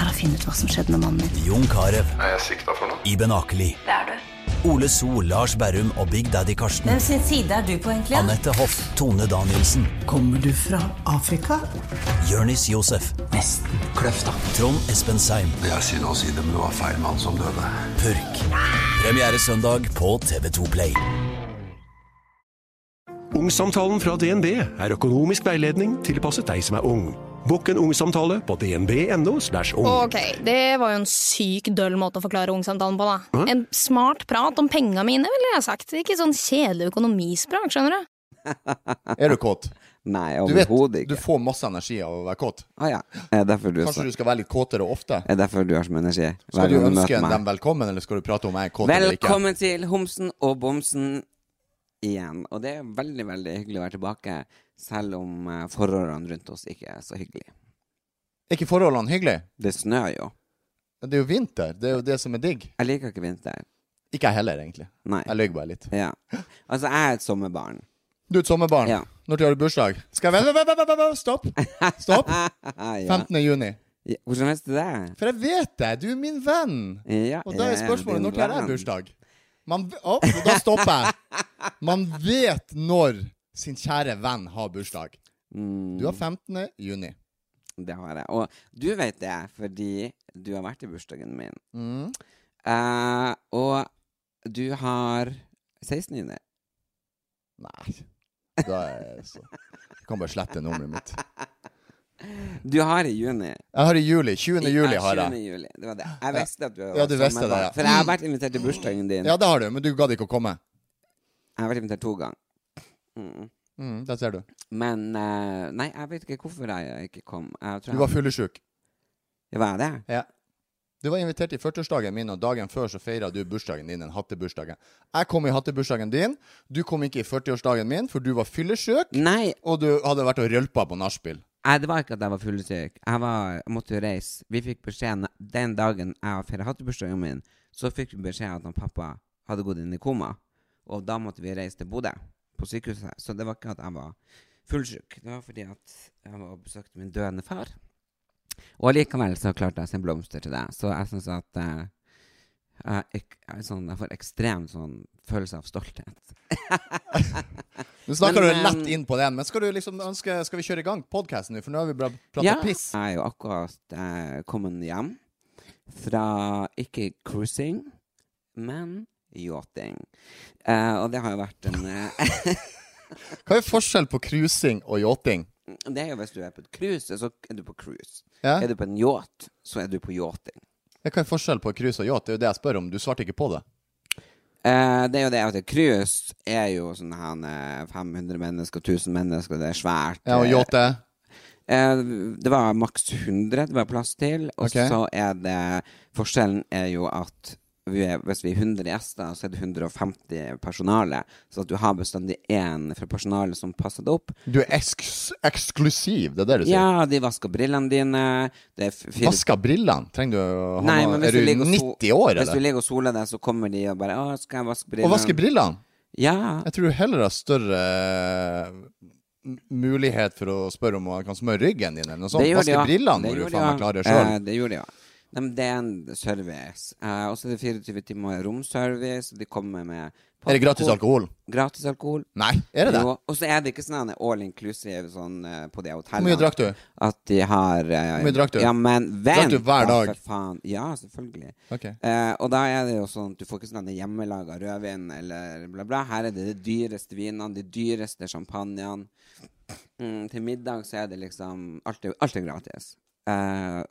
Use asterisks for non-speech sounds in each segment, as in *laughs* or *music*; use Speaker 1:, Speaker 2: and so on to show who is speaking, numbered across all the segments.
Speaker 1: er å finne ut hva som skjedde med mannen min.
Speaker 2: Jon Carew,
Speaker 3: Er jeg sikta for noe?
Speaker 2: Iben Akeli,
Speaker 1: Det er du.
Speaker 2: Ole So, Lars Berrum og Big Daddy Karsten.
Speaker 4: Hvem sin side er du på, egentlig?
Speaker 2: Anette Hoff, Tone Danielsen,
Speaker 5: Kommer du fra Afrika?
Speaker 2: Jørnis Josef,
Speaker 5: Nesten. Kløfta.
Speaker 2: Trond Espen Seim,
Speaker 3: Jeg sier å si det, men det var feil mann som døde.
Speaker 2: Purk. Premiere søndag på TV2 Play.
Speaker 6: Ungsamtalen fra DNB er økonomisk veiledning tilpasset deg som er ung. Bokk en ungsamtale på dnb.no. /ung.
Speaker 7: Ok, det var jo en syk døll måte å forklare ungsamtalen på, da. En smart prat om penga mine, ville jeg sagt. Ikke sånn kjedelig økonomisprat, skjønner du.
Speaker 8: Er du
Speaker 9: *laughs*
Speaker 8: kåt?
Speaker 9: Nei,
Speaker 8: Du vet,
Speaker 9: overhodet
Speaker 8: du
Speaker 9: ikke.
Speaker 8: får masse energi av å være kåt.
Speaker 9: Å ja. Er det derfor du,
Speaker 8: Kanskje du skal være litt kåtere ofte?
Speaker 9: er det derfor du har så mye energi? Hver
Speaker 8: Skal du
Speaker 9: gang
Speaker 8: ønske
Speaker 9: møter meg.
Speaker 8: dem velkommen, eller skal du prate om jeg er kåt eller ikke?
Speaker 9: Velkommen til Homsen og Bomsen igjen. Og det er veldig, veldig hyggelig å være tilbake, selv om eh, forholdene rundt oss ikke er så hyggelige.
Speaker 8: Er ikke forholdene hyggelige?
Speaker 9: Det snør jo.
Speaker 8: Det er jo vinter. Det er jo det som er digg.
Speaker 9: Jeg liker ikke vinter.
Speaker 8: Ikke jeg heller, egentlig.
Speaker 9: Nei.
Speaker 8: Jeg løy bare litt.
Speaker 9: Ja. Altså, jeg er et sommerbarn. *laughs*
Speaker 8: Du er et sommerbarn.
Speaker 9: Ja.
Speaker 8: Når har du bursdag? Skal jeg vent, vent, vent, vent, vent, Stopp!
Speaker 9: *laughs*
Speaker 8: Stopp!
Speaker 9: ja.
Speaker 8: 15. juni.
Speaker 9: Ja, Hvordan visste du det?
Speaker 8: For jeg vet det! Du er min venn!
Speaker 9: Ja,
Speaker 8: Og da er
Speaker 9: jeg
Speaker 8: spørsmålet
Speaker 9: Eh, din
Speaker 8: når har jeg
Speaker 9: venn.
Speaker 8: bursdag? Man, v- Å, da stopper jeg. Man vet når sin kjære venn har bursdag. Du har 15. juni.
Speaker 9: Mm, Det har jeg. Og du vet det fordi du har vært i bursdagen min.
Speaker 8: Mm.
Speaker 9: Eh, og du har 16. juni.
Speaker 8: Nei. Da er jeg så Jeg kan bare slette nummeret mitt.
Speaker 9: Du har i juni.
Speaker 8: Jeg har i juli. 20. juli
Speaker 9: Ja,
Speaker 8: har
Speaker 9: 20.
Speaker 8: jeg.
Speaker 9: Juli. Det var det. Jeg visste at du var
Speaker 8: Ja, du visste
Speaker 9: sommerbarn.
Speaker 8: det, ja. Mm.
Speaker 9: For jeg har vært invitert til bursdagen din.
Speaker 8: Ja, det har du, men du gadd ikke å komme.
Speaker 9: Jeg har vært invitert to ganger. Mm.
Speaker 8: Mm, der ser du.
Speaker 9: Men eh, Nei, jeg vet ikke hvorfor jeg ikke kom. Jeg tror
Speaker 8: Du var fullesjuk.
Speaker 9: jeg- Var jeg det?
Speaker 8: Ja. Du var invitert i 40-årsdagen min, og dagen før så feira du bursdagen din, den hattebursdagen. Jeg kom i hattebursdagen din, du kom ikke i 40-årsdagen min, for du var fyllesjuk,
Speaker 9: Nei,
Speaker 8: og du hadde vært og rølpa på nachspiel.
Speaker 9: jeg, det var ikke at jeg var fyllesyk. Jeg, var, jeg måtte jo reise. Vi fikk beskjed na- den dagen jeg feira hattebursdagen min, så fikk vi beskjed at han pappa hadde gått inn i koma. Og da måtte vi reise til Bodø, på sykehuset. Så det var ikke at jeg var fullsjuk. Det var fordi at jeg var og besøkte min døende far. Og likevel så klarte jeg å sende blomster til deg. Så jeg syns at eh, jeg, ek, jeg, er sånn, jeg får ekstrem sånn følelse av stolthet.
Speaker 8: Nå snakker
Speaker 9: Men,
Speaker 8: du
Speaker 9: eh,
Speaker 8: lett inn på den, men skal du liksom ønske Skal vi kjøre i gang podkasten nå, for nå har vi bare prata piss?
Speaker 9: Jeg er jo akkurat eh, kommet hjem fra ikke cruising, men yachting. Eh, og det har jo vært en eh, *laughs*
Speaker 8: Hva er forskjell på cruising og yachting?
Speaker 9: Det er jo hvis du er på et cruise, så er du på cruise.
Speaker 8: Ja?
Speaker 9: Er du på en yacht, så er du på yachting.
Speaker 8: Ja, Hva er forskjell på cruise og yacht? Det er jo det jeg spør om. Du svarte ikke på det.
Speaker 9: Eh, det er jo det at et cruise er jo sånn her eh, 500 mennesker, 1000 mennesker, det er svært.
Speaker 8: Ja, og
Speaker 9: eh,
Speaker 8: yacht er
Speaker 9: Eh, Det var maks 100 det var plass til. Og
Speaker 8: Ok.
Speaker 9: så er det Forskjellen er jo at vi er, hvis vi er 100 gjester, så er det 150 personale. Så at du har bestandig én fra personalet som passer deg opp.
Speaker 8: Du er eks eksklusiv, det er det du sier?
Speaker 9: Ja, de vasker brillene dine. Det er f- fire
Speaker 8: Vasker brillene? Trenger du å ha
Speaker 9: Nei,
Speaker 8: noe
Speaker 9: men hvis
Speaker 8: Er du
Speaker 9: du ligger og so-
Speaker 8: 90 år,
Speaker 9: Hvis du
Speaker 8: eller?
Speaker 9: ligger og soler deg, så kommer de og bare 'Å, skal jeg vaske
Speaker 8: Å
Speaker 9: brillene?'
Speaker 8: vaske brillene?
Speaker 9: Ja.
Speaker 8: Jeg tror heller har større eh, m- mulighet for å spørre om man kan smøre ryggen din, eller noe sånt.
Speaker 9: gjør de,
Speaker 8: Vaske
Speaker 9: ja.
Speaker 8: Sånn brillene
Speaker 9: Det
Speaker 8: må du
Speaker 9: gjør de,
Speaker 8: faen
Speaker 9: ja.
Speaker 8: meg klare
Speaker 9: Eh,
Speaker 8: sjøl.
Speaker 9: det gjør de, ja. Nei, men det er en service. Eh, og så er det 24 timer romservice. De kommer med
Speaker 8: Er det gratis
Speaker 9: popcorn.
Speaker 8: alkohol?
Speaker 9: Gratis alkohol.
Speaker 8: Nei, er det det?
Speaker 9: Jo, og så er det ikke sånn all inclusive sånn, eh, på de hotellene.
Speaker 8: Hvor mye drakk du?
Speaker 9: At de har eh,
Speaker 8: Hvor mye drakk du?
Speaker 9: Ja, men vent!
Speaker 8: Drakk du hver
Speaker 9: da,
Speaker 8: dag?
Speaker 9: For faen. Ja, selvfølgelig.
Speaker 8: Ok.
Speaker 9: Eh, og da er det jo sånn at du får ikke sånn hjemmelaga rødvin eller bla, bla. Her er det de dyreste vinene, de dyreste champagnene. Mm, til middag så er det liksom Alt er, alt er gratis. Eh,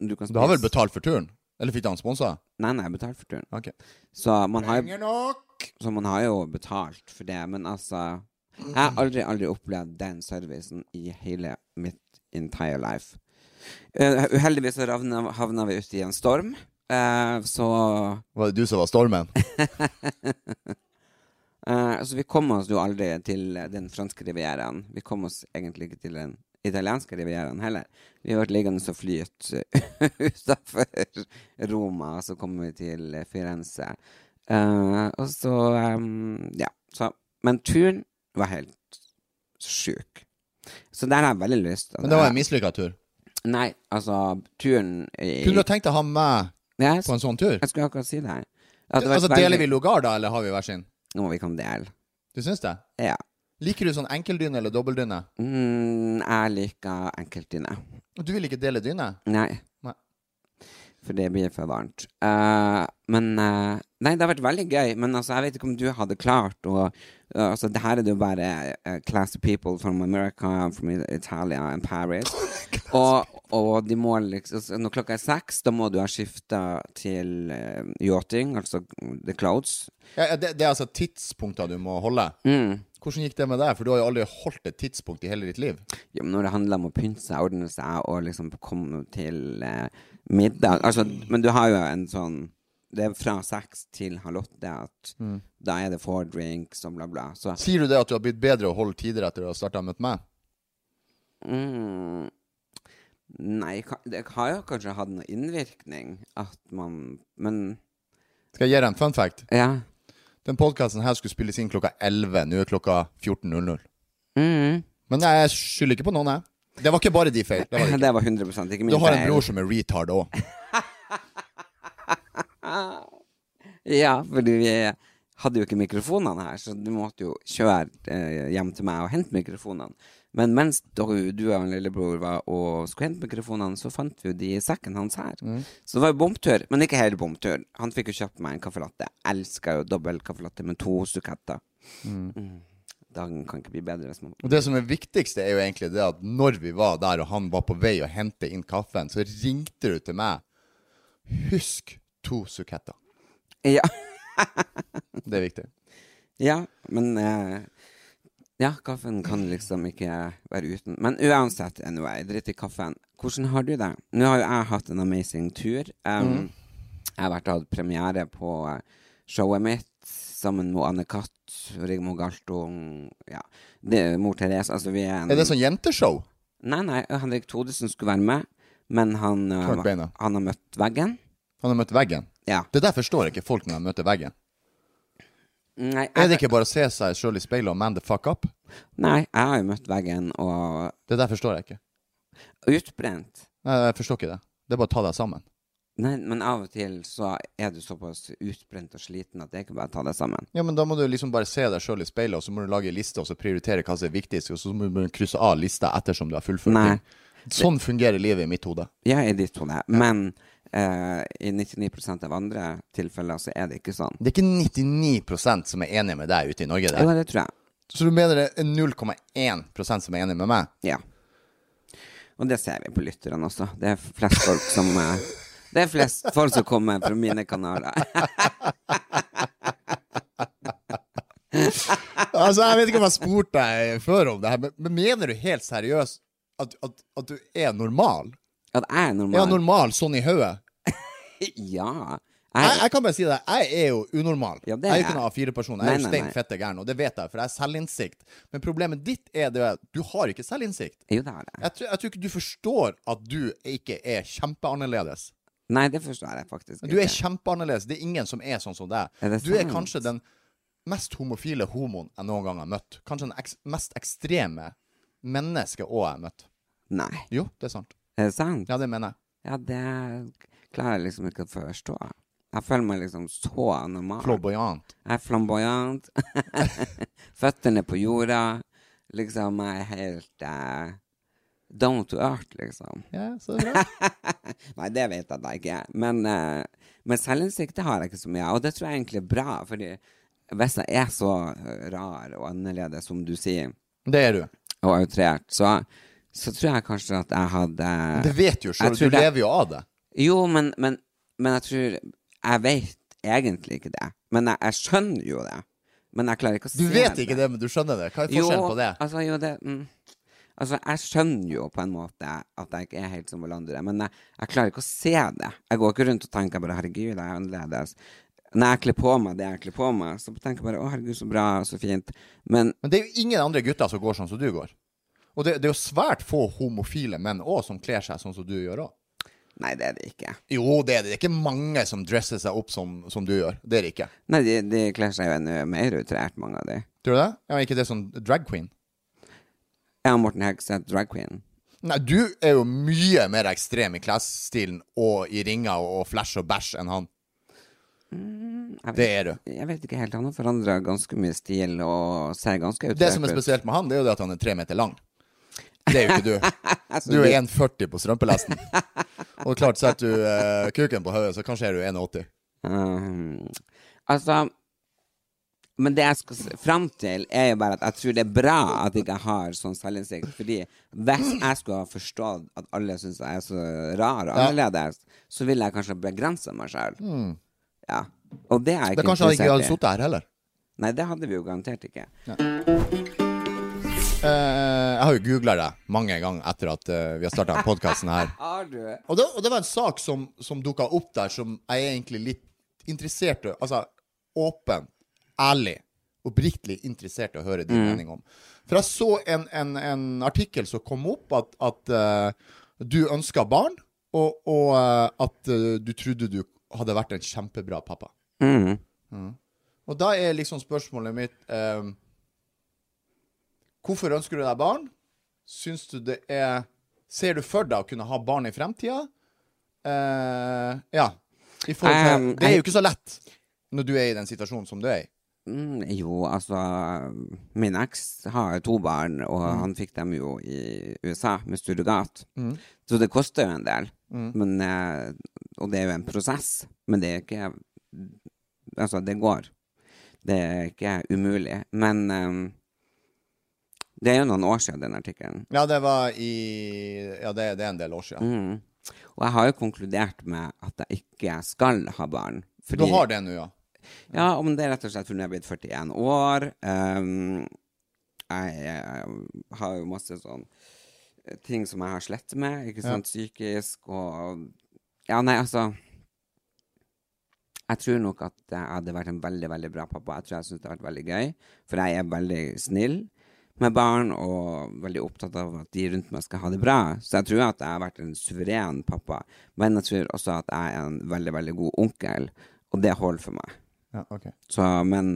Speaker 9: du kan
Speaker 8: Du har vel betalt for turen? Eller fikk han sponsa?
Speaker 9: Nei, nei, jeg betalte for turen.
Speaker 8: Ok.
Speaker 9: Så man har jo
Speaker 8: Penger nok!
Speaker 9: så man har jo betalt for det, men altså Jeg har aldri, aldri opplevd den servicen i hele mitt entire life. Eh, uheldigvis så ravna- havna vi ute i en storm, eh, så
Speaker 8: Var det du som var stormen?
Speaker 9: Eh, så vi kom oss jo aldri til eh, den franske rivieraen. Vi kom oss egentlig ikke til den italienske rivieraen heller. Vi ble liggende og flyte *laughs* utafor Roma, og så kom vi til eh, Firenze. Eh, og så eh, Ja. Så, men turen var helt sjuk. Så der har jeg veldig lyst
Speaker 8: Men det var en mislykka
Speaker 9: *laughs*
Speaker 8: tur.
Speaker 9: Nei, altså, turen i-
Speaker 8: Kunne du ha tenkt deg å ha meg
Speaker 9: Yes.
Speaker 8: på en sånn tur?
Speaker 9: Jeg skulle akkurat si det her. At det var
Speaker 8: Altså,
Speaker 9: veldig-
Speaker 8: Deler vi lugar, da, eller har vi hver sin?
Speaker 9: Nå vi kan dele.
Speaker 8: Du syns det?
Speaker 9: Ja.
Speaker 8: Liker du sånn enkeldyne eller dobbeldyne?
Speaker 9: Mm, jeg liker enkeltdyne.
Speaker 8: Du vil ikke dele dyne?
Speaker 9: Nei.
Speaker 8: Nei.
Speaker 9: For det blir for varmt. Eh, men eh, Nei, det har vært veldig gøy, men altså, jeg vet ikke om du hadde klart å eh, Altså, det her er det jo bare eh, classy people from America, from I- Italia and Paris. og, og de må liksom så Når klokka er seks, da må du ha skifta til eh, yachting, altså the clothes. Mm.
Speaker 8: Ja, ja, det, det er altså tidspunkter du må holde. Hvordan gikk det med deg? For du har jo aldri holdt et tidspunkt i hele ditt liv.
Speaker 9: Ja, men når det handler om å pynte seg, ordne seg og liksom komme til eh, middag altså, Men du har jo en sånn Det er fra seks til halv åtte at
Speaker 8: Mm.
Speaker 9: da er det four drinks og bla, bla. Så
Speaker 8: Sier du det at du har blitt bedre å holde tider etter å ha starta med meg?
Speaker 9: mm, Nei, ka- det har jo kanskje hatt noen innvirkning at man Men
Speaker 8: Skal jeg gi deg en fun fact?
Speaker 9: ja.
Speaker 8: Den podkasten her skulle spilles inn klokka 11. Nå er klokka 14.00.
Speaker 9: Mm.
Speaker 8: Men jeg skylder ikke på noen, jeg. Det var ikke bare de feil. Det var *laughs* det ikke.
Speaker 9: *laughs* Det var 100 ikke min
Speaker 8: Du har en
Speaker 9: feil.
Speaker 8: bror som er retard òg.
Speaker 9: Ja, fordi vi hadde jo ikke mikrofonene her, så du måtte jo kjøre eh, hjem til meg og hente mikrofonene. Men mens du, du og en lillebror var og skulle hente mikrofonene, så fant vi jo de i sekken hans her. Så det var jo bomtur, men ikke hele bomtur. Han fikk jo kjøpt meg en kaffelatte. Jeg elsker jo dobbel kaffelatte med to suketter. Mm. Dagen kan ikke bli bedre hvis man
Speaker 8: Og det som er viktigste, er jo egentlig det at når vi var der, og han var på vei å hente inn kaffen, så ringte du til meg. Husk to suketter.
Speaker 9: Ja,
Speaker 8: Det er viktig.
Speaker 9: ja men eh, Ja, kaffen kan liksom ikke være uten. Men uansett, anyway, dritt i kaffen. Hvordan har du det? Nå har jo jeg hatt en amazing tur.
Speaker 8: Mhm.
Speaker 9: Um, Jeg har vært og hatt premiere på eh, showet mitt sammen med Anne-Cath, Rigmor Galtung, ja, det, mor Therese. Altså, vi er en
Speaker 8: Er det sånn jenteshow?
Speaker 9: Nei, nei, Henrik Thodesen skulle være med, men han, eh,
Speaker 8: Knakk beina.
Speaker 9: han har møtt veggen.
Speaker 8: Han har møtt veggen.
Speaker 9: Ja.
Speaker 8: Det der forstår ikke folk når de møter veggen.
Speaker 9: Nei,
Speaker 8: Er det
Speaker 9: jeg,
Speaker 8: ikke bare å se seg sjøl i speilet og man the fuck up?
Speaker 9: nei, jeg har jo møtt veggen og
Speaker 8: Det der forstår jeg ikke.
Speaker 9: utbrent.
Speaker 8: Nei, jeg forstår ikke det. Det er bare å ta deg sammen.
Speaker 9: Nei, men av og til så er du såpass utbrent og sliten at det er ikke bare å ta deg sammen.
Speaker 8: Ja, men da må du liksom bare se deg sjøl i speilet, og så må du lage ei liste, og så prioritere hva som er viktigst, og så må du krysse av lista ettersom du har fullført
Speaker 9: Nei.
Speaker 8: ting. Sånn fungerer livet i mitt hode.
Speaker 9: Jeg er i ditt hode, men eh, i 99 av andre tilfeller så er det ikke sånn.
Speaker 8: Det er ikke 99 som er enige med deg ute i Norge.
Speaker 9: Jo,
Speaker 8: Der.
Speaker 9: det tror jeg.
Speaker 8: Så du mener det er 0,1 som er enige med meg?
Speaker 9: Ja. Og det ser vi på lytterne også. Det er flest folk som eh, Det er flest folk som kommer fra mine kanaler. *laughs*
Speaker 8: Altså, Jeg vet ikke om jeg spurte deg før om det her, men, men mener du helt seriøst at, at, at du er normal?
Speaker 9: At jeg er normal.
Speaker 8: Er jeg normal sånn i hodet?
Speaker 9: ja.
Speaker 8: Jeg,
Speaker 9: Jeg,
Speaker 8: jeg kan bare si det, jeg er jo unormal.
Speaker 9: Ja, det
Speaker 8: jeg er jo
Speaker 9: er
Speaker 8: ikke noen A4-person. Jeg er
Speaker 9: Nei,
Speaker 8: jo
Speaker 9: nei,
Speaker 8: stein
Speaker 9: nei.
Speaker 8: fette gæren, og det vet jeg, for jeg har selvinnsikt. Men problemet ditt er det at du har ikke selvinnsikt.
Speaker 9: jo, det har jeg.
Speaker 8: Jeg tror, jeg tror ikke du forstår at du ikke er kjempeannerledes.
Speaker 9: Nei, det forstår jeg faktisk
Speaker 8: Du er kjempeannerledes. Det er ingen som er sånn som deg.
Speaker 9: Er det
Speaker 8: Du er
Speaker 9: sant?
Speaker 8: kanskje den mest homofile homoen jeg noen gang har møtt. Kanskje den eks mest ekstreme mennesket òg jeg har møtt.
Speaker 9: Nei.
Speaker 8: Jo, det er sant.
Speaker 9: Er det sant?
Speaker 8: Ja, det mener jeg.
Speaker 9: Ja, det klarer jeg liksom ikke å forstå. Jeg føler meg liksom så normal.
Speaker 8: Flåboyant.
Speaker 9: Jeg er flamboyant. *laughs* Føttene på jorda. Liksom, jeg er helt eh, down to earth, liksom.
Speaker 8: Ja, så det er
Speaker 9: *laughs*
Speaker 8: bra.
Speaker 9: Nei, det vet jeg at jeg ikke er. Men, eh, men selvinnsikt det har jeg ikke så mye av, og det tror jeg egentlig er bra. fordi hvis jeg er så eh, rar og annerledes som du sier,
Speaker 8: Det er du.
Speaker 9: og outrert, så, så tror jeg kanskje at jeg hadde
Speaker 8: Det vet jo
Speaker 9: Jeg
Speaker 8: sjøl.
Speaker 9: tror
Speaker 8: Du
Speaker 9: det-
Speaker 8: lever jo av det.
Speaker 9: Jo, men, men, men jeg tror Jeg vet egentlig ikke det. Men jeg, jeg skjønner jo det. Men jeg klarer ikke å
Speaker 8: Du vet ikke det, men du skjønner det. Hva er forskjellen på det?
Speaker 9: Altså, jo, det mm. Altså, jeg skjønner jo på en måte at jeg ikke er helt som alle andre, men jeg, jeg klarer ikke å se det. Jeg går ikke rundt og tenker bare 'herregud, jeg er annerledes'. Når jeg kler på meg det jeg kler på meg, så tenker jeg bare 'Å, herregud, så bra, så fint'. Men
Speaker 8: Men det er jo ingen andre gutter som går sånn som du går. Og det, det er jo svært få homofile menn òg som kler seg sånn som du gjør òg.
Speaker 9: nei, det er det ikke.
Speaker 8: Jo, det er det. Det er ikke mange som dresser seg opp som, som du gjør. Det er det ikke.
Speaker 9: Nei, de, de kler seg jo enda mer utrært, mange av de.
Speaker 8: Tror du det? Ja, ikke det som drag queen?
Speaker 9: Jeg og Morten Hegseth, drag queen.
Speaker 8: Nei, du er jo mye mer ekstrem i klesstilen og i ringer og, og flash og bæsj enn han.
Speaker 9: Mm, Jeg
Speaker 8: Det er du.
Speaker 9: Jeg vet ikke helt, han har forandra ganske mye stil og ser ganske utlært ut.
Speaker 8: Det som er spesielt med han, det er jo det at han er tre meter lang. Det er jo ikke du. Du er 1,40 på strømpelesten. Og klart, setter du eh, kuken på hodet, så kanskje er du 1,80.
Speaker 9: Um, altså Men det jeg skal s- fram til, er jo bare at jeg tror det er bra at jeg ikke har sånn selvinnsikt. Fordi hvis jeg skulle ha forstått at alle syns jeg er så rar og annerledes, så ville jeg kanskje begrensa meg sjøl. Ja. Og det er
Speaker 8: Det er
Speaker 9: jeg ikke
Speaker 8: Hmm. kanskje han ikke
Speaker 9: interessert
Speaker 8: hadde
Speaker 9: i.
Speaker 8: sittet her heller.
Speaker 9: Nei, det hadde vi jo garantert ikke.
Speaker 8: Eh, jeg har jo googla deg mange ganger etter at eh, vi har starta podkasten her.
Speaker 9: Har du?
Speaker 8: Og det, og det var en sak som, som dukka opp der, som jeg er egentlig litt interessert i. Altså åpen, ærlig, oppriktig interessert i å høre din mening om. For jeg så en, en, en artikkel som kom opp, at, at eh, du ønska barn, og, og eh, at eh, du trodde du hadde vært en kjempebra pappa.
Speaker 9: Mm.
Speaker 8: Og da er liksom spørsmålet mitt ehm, Hvorfor ønsker du deg barn? Syns du det er Ser du for deg å kunne ha barn i fremtida? Eh, ja. I forhold til,
Speaker 9: Um,
Speaker 8: det er
Speaker 9: jeg-
Speaker 8: jo ikke så lett når du er i den situasjonen som du er i.
Speaker 9: Mm, jo, altså Min eks har to barn, og
Speaker 8: Mm.
Speaker 9: han fikk dem jo i USA med surrogat. Så det koster jo en del.
Speaker 8: Mm.
Speaker 9: Men, eh, og det er jo en prosess. Men det er ikke Altså, det går. Det er ikke umulig. Men eh, det er jo noen år siden den artikkelen.
Speaker 8: Ja, det var i Ja, det, det er en del år siden.
Speaker 9: Mm. Og jeg har jo konkludert med at jeg ikke skal ha barn.
Speaker 8: Du har det nå, ja.
Speaker 9: Ja, men det er rett og slett fordi jeg er blitt 41 år. Ehm, jeg, eh, har jo masse sånn eh, ting som jeg har slett med, ikke sant, psykisk og Ja, nei, altså Jeg tror nok at jeg hadde vært en veldig, veldig bra pappa. Jeg tror jeg syntes det hadde vært veldig gøy, for jeg er veldig snill med barn og veldig opptatt av at de rundt meg skal ha det bra. Så jeg tror at jeg har vært en suveren pappa, men jeg tror også at jeg er en veldig, veldig god onkel, og det holder for meg.
Speaker 8: ja ok.
Speaker 9: Så, men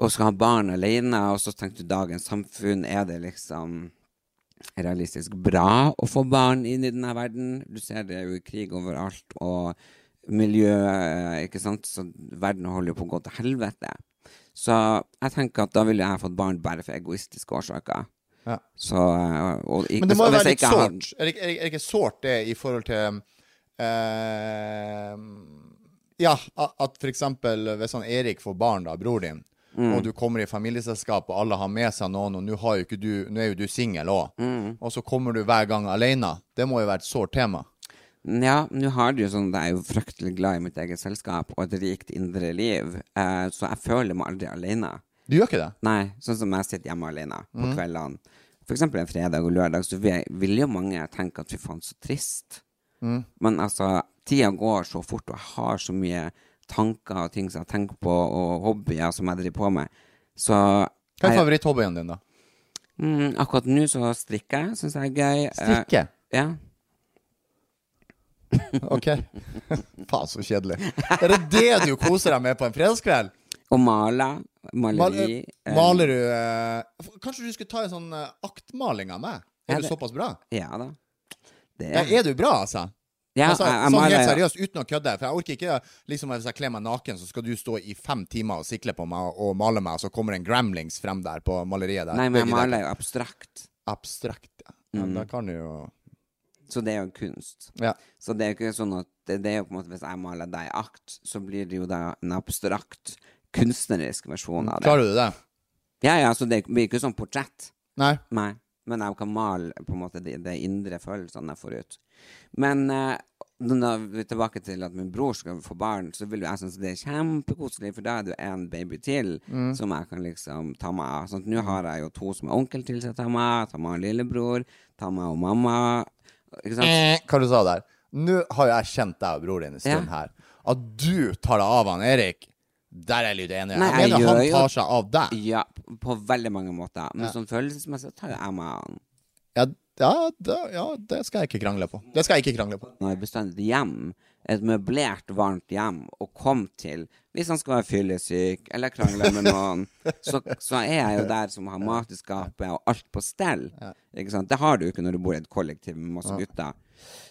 Speaker 9: å skal ha barn alene, og så tenkte du dagens samfunn, er det liksom realistisk bra å få barn inn i denne verden? Du ser det jo i krig overalt, og miljø, eh, ikke sant? Så verden holder jo på å gå til helvete. Så jeg tenker at da ville jeg fått barn bare for egoistiske årsaker.
Speaker 8: Ja.
Speaker 9: Så, eh, og, ikke-
Speaker 8: Men det må
Speaker 9: og
Speaker 8: jo
Speaker 9: hvis
Speaker 8: være
Speaker 9: jeg
Speaker 8: litt
Speaker 9: ikke har-
Speaker 8: sårt. Er det ikke- er det- er det ikke sårt, det, i forhold til eh, Ja, a- at for eksempel hvis han Erik får barn, da, bror din,
Speaker 9: Mm.
Speaker 8: og du kommer i familieselskap, og alle har med seg noen, og nå har jo ikke du Nå er jo du singel òg,
Speaker 9: Mm.
Speaker 8: og så kommer du hver gang alene. Det må jo være et sårt tema.
Speaker 9: Ja, nå har du jo sånn Jeg er jo fryktelig glad i mitt eget selskap og et rikt indre liv, eh, så jeg føler meg aldri alene.
Speaker 8: Du gjør ikke det?
Speaker 9: Nei, sånn som jeg sitter hjemme alene på
Speaker 8: Mhm.
Speaker 9: kveldene. For eksempel en fredag og lørdag, så vi- vil jo mange tenke at fy faen, så trist.
Speaker 8: Mhm.
Speaker 9: Men altså, tida går så fort, og jeg har så mye tanker og ting som jeg tenker på, og hobbyer som jeg driver på med. Så
Speaker 8: Hva er
Speaker 9: jeg,
Speaker 8: favoritthobbyen din, da?
Speaker 9: mm, akkurat nå så strikker jeg, syns jeg er gøy. Eh,
Speaker 8: Strikke?
Speaker 9: ja. Eh.
Speaker 8: OK. *laughs* Faen, så kjedelig. Er det det du koser deg med på en fredagskveld?
Speaker 9: Og maler.
Speaker 8: Mal,
Speaker 9: Maleri. eh,
Speaker 8: maler du eh, f- Kanskje du skulle ta en sånn eh, aktmaling av meg? Er
Speaker 9: Ja,
Speaker 8: du
Speaker 9: det-
Speaker 8: såpass bra?
Speaker 9: Ja da. Det
Speaker 8: Ja, er du bra, altså?
Speaker 9: Ja,
Speaker 8: altså
Speaker 9: jeg- jeg
Speaker 8: sånn
Speaker 9: maler-
Speaker 8: helt seriøst, uten å kødde. For jeg orker ikke liksom Hvis jeg kler meg naken, så skal du stå i fem timer og sikle på meg og male meg, og så kommer en gramlings frem der på maleriet der.
Speaker 9: Nei, men jeg
Speaker 8: Begge
Speaker 9: maler Mm.
Speaker 8: der.
Speaker 9: jo abstrakt.
Speaker 8: Abstrakt, ja. ja Da kan du jo
Speaker 9: Så det er jo kunst.
Speaker 8: Ja.
Speaker 9: Så det er jo ikke sånn at det, det er jo på en måte Hvis jeg maler deg i akt, så blir det jo da en abstrakt, kunstnerisk versjon av det.
Speaker 8: Klarer du det?
Speaker 9: Ja, ja, så det blir ikke sånn portrett.
Speaker 8: Nei?
Speaker 9: Nei. Men jeg kan male på en måte de, de indre følelsene jeg får ut. Men eh, når vi er tilbake til at min bror skal få barn, så vil jo jeg synes det er kjempekoselig, for da er det jo en baby til som jeg kan liksom ta meg av. Sånn at nå har jeg jo to som er onkel til seg, ta meg av, ta meg av lillebror, ta meg av mamma. Ikke sant?
Speaker 8: Hva du sa der? Nå har jo jeg kjent deg og broren din en stund
Speaker 9: Ja.
Speaker 8: her. At du tar deg av han Erik, der er jeg litt enig.
Speaker 9: Nei,
Speaker 8: jeg
Speaker 9: jeg
Speaker 8: mener
Speaker 9: gjør
Speaker 8: han
Speaker 9: jo-
Speaker 8: tar seg av deg.
Speaker 9: Ja, p- på veldig mange måter. Men sånn følelsesmessig tar jo jeg meg av han.
Speaker 8: Ja, ja, det, ja, det skal jeg ikke krangle på. Det skal jeg ikke krangle på.
Speaker 9: Når jeg bestandig et hjem, et møblert, varmt hjem, å komme til Hvis han skal være fyllesyk eller krangle med noen, så, så er jeg jo der som har mat i skapet og alt på stell. Ikke sant? Det har du jo ikke når du bor i et kollektiv med masse gutter.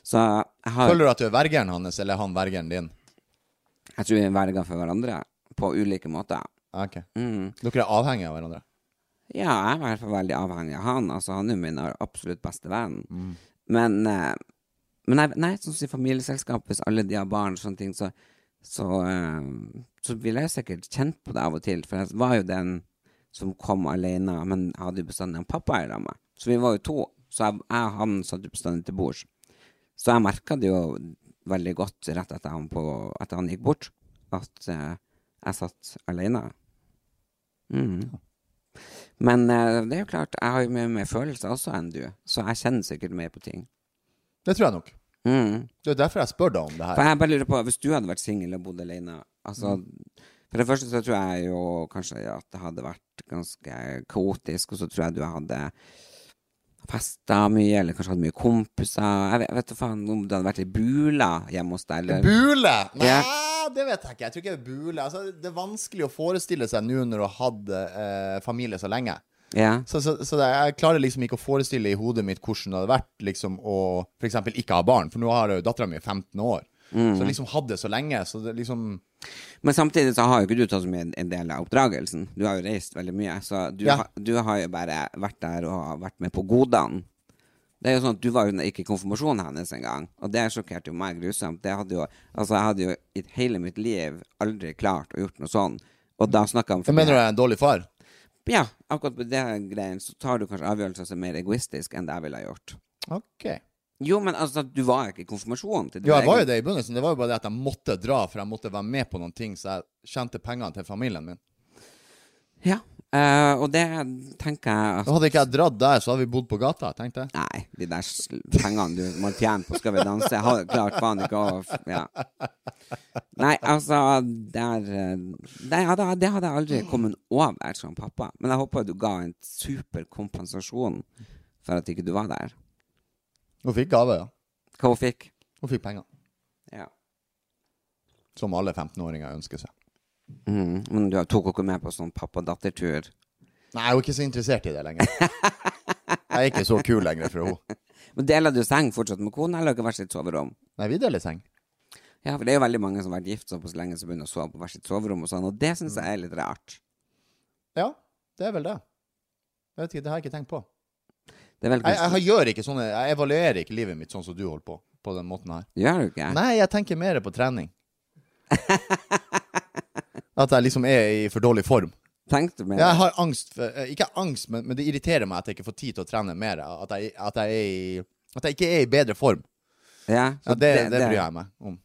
Speaker 9: Så jeg har
Speaker 8: Føler du at du er vergeren hans, eller er han vergeren din?
Speaker 9: Jeg tror vi er verger for hverandre på ulike måter.
Speaker 8: Ah, Ok.
Speaker 9: Mm.
Speaker 8: Dere er avhengige av hverandre.
Speaker 9: Ja, jeg er i hvert fall veldig avhengig av han. Altså, han er jo min absolutt beste venn. Men, eh, men jeg, nei, sånn som i familieselskap, hvis alle de har barn og sånne ting, så, så, eh, så ville jeg sikkert kjent på det av og til. For jeg var jo den som kom alene, men jeg hadde jo bestandig en pappa i lag med. Så vi var jo to. Så jeg, jeg og han satt jo bestandig til bords. Så jeg merka det jo veldig godt rett etter han, på, etter han gikk bort, at eh, jeg satt alene. Mm. Men eh, det er jo klart, jeg har jo mye mer følelser også enn du, så jeg kjenner sikkert mer på ting.
Speaker 8: Det tror jeg nok.
Speaker 9: Mm.
Speaker 8: Det er derfor jeg spør deg om det her.
Speaker 9: For jeg bare lurer på, hvis du hadde vært singel og bodd alene altså, For det første så tror jeg jo kanskje at det hadde vært ganske kaotisk, og så tror jeg du hadde festa mye, eller kanskje hatt mye kompiser Jeg vet, vet da faen om du hadde vært i bula hjemme hos deg, eller
Speaker 8: Bule! Nei,
Speaker 9: Ja.
Speaker 8: det vet jeg ikke. Jeg tror ikke det er bule. Altså, det er vanskelig å forestille seg nå når du har hatt eh, familie så lenge.
Speaker 9: Ja.
Speaker 8: Så, så, så det, jeg klarer liksom ikke å forestille i hodet mitt hvordan det hadde vært liksom, å f.eks. ikke ha barn. For nå har jo dattera mi 15 år.
Speaker 9: Mm.
Speaker 8: Så liksom hatt det så lenge. Så det liksom
Speaker 9: Men samtidig så har jo ikke du tatt som en en del av oppdragelsen. Du har jo reist veldig mye, så du,
Speaker 8: Ja.
Speaker 9: ha, du har jo bare vært der og har vært med på godene. Det er jo sånn at Du var jo ikke i konfirmasjonen hennes engang, og det sjokkerte jo meg grusomt. Det hadde jo, altså Jeg hadde jo i hele mitt liv aldri klart å gjort noe sånn. Og da snakka han
Speaker 8: Jeg mener du jeg er en dårlig far?
Speaker 9: Ja, akkurat på den greien så tar du kanskje avgjørelser som er mer egoistisk enn det jeg ville ha gjort.
Speaker 8: OK.
Speaker 9: Jo, men altså, du var ikke i konfirmasjonen til din
Speaker 8: Ja, jeg var
Speaker 9: egen-
Speaker 8: jo det i begynnelsen. Det var jo bare det at jeg måtte dra, for jeg måtte være med på noen ting, så jeg tjente pengene til familien min.
Speaker 9: Ja, eh, og det tenker jeg at
Speaker 8: Og hadde ikke jeg dratt der, så hadde vi bodd på gata, tenkte jeg.
Speaker 9: altså. Nei, de der sl- pengene du må tjene på Skal vi danse, jeg har klart faen ikke å f- ja. Nei, altså der, eh, det, hadde, det hadde jeg aldri kommet over som pappa. Men jeg håper du ga en super kompensasjon for at ikke du var der.
Speaker 8: Hun fikk gave, ja.
Speaker 9: Hva hun fikk.
Speaker 8: Hun fikk penger.
Speaker 9: Ja.
Speaker 8: Som alle 15-åringer ønsker seg.
Speaker 9: Mm, men du tok henne med på sånn pappa-datter-tur.
Speaker 8: Nei, hun er ikke så interessert i det
Speaker 9: *laughs*
Speaker 8: lenger. Jeg er ikke så kul lenger for henne.
Speaker 9: Men Deler du seng fortsatt med kona, eller har dere hvert sitt soverom?
Speaker 8: Nei, vi deler seng.
Speaker 9: Ja, for det er jo veldig mange som har vært gift såpass lenge, som begynner å sove på hvert sitt soverom, og sånn, og det syns jeg er litt rart.
Speaker 8: Ja, det er vel det. Jeg vet ikke, det har jeg ikke tenkt på.
Speaker 9: Det er vel
Speaker 8: Jeg, jeg
Speaker 9: kanskje
Speaker 8: har- gjør ikke sånne Jeg evaluerer ikke livet mitt sånn som du holder på, på den måten her.
Speaker 9: Gjør du ikke?
Speaker 8: Nei, jeg tenker mer på trening. *laughs* At jeg liksom er i for dårlig form.
Speaker 9: Tenkte du mer?
Speaker 8: Jeg har angst for, eh, Ikke angst, men, men det irriterer meg at jeg ikke får tid til å trene mer. At jeg, at jeg, er i, at jeg ikke er i bedre form.
Speaker 9: Ja,
Speaker 8: Ja, det, det, bryr jeg meg om.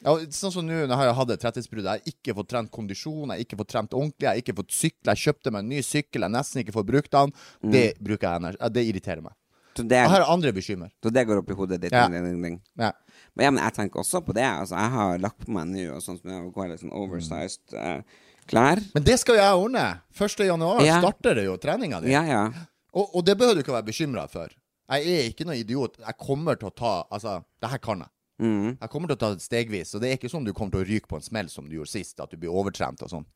Speaker 8: Ja, og sånn som nå, når jeg har hatt et 30-brudd, jeg har ikke fått trent kondisjon, jeg har ikke fått trent ordentlig, jeg har ikke fått sykle, jeg kjøpte meg en ny sykkel, jeg nesten ikke får brukt den. Det bruker jeg energi. ja, Det irriterer meg.
Speaker 9: Så det,
Speaker 8: Jeg har andre bekymmer.
Speaker 9: så det går opp i hodet ditt.
Speaker 8: Ja.
Speaker 9: Ding, ding, ding.
Speaker 8: Ja.
Speaker 9: Men, ja, men jeg tenker også på det. Altså, jeg har lagt på meg nå og sånn som jeg går litt sånn oversized eh, klær.
Speaker 8: Men det skal jo jeg ordne. 1. januar
Speaker 9: Ja.
Speaker 8: starter det jo treninga di.
Speaker 9: Ja, ja.
Speaker 8: Og, og det behøver du ikke å være bekymra for. Jeg er ikke noen idiot. Jeg kommer til å ta Altså, det her kan jeg.
Speaker 9: Mm.
Speaker 8: Jeg kommer til å ta det stegvis, og det er ikke sånn du kommer til å ryke på en smell som du gjorde sist, at du blir overtrent og sånn.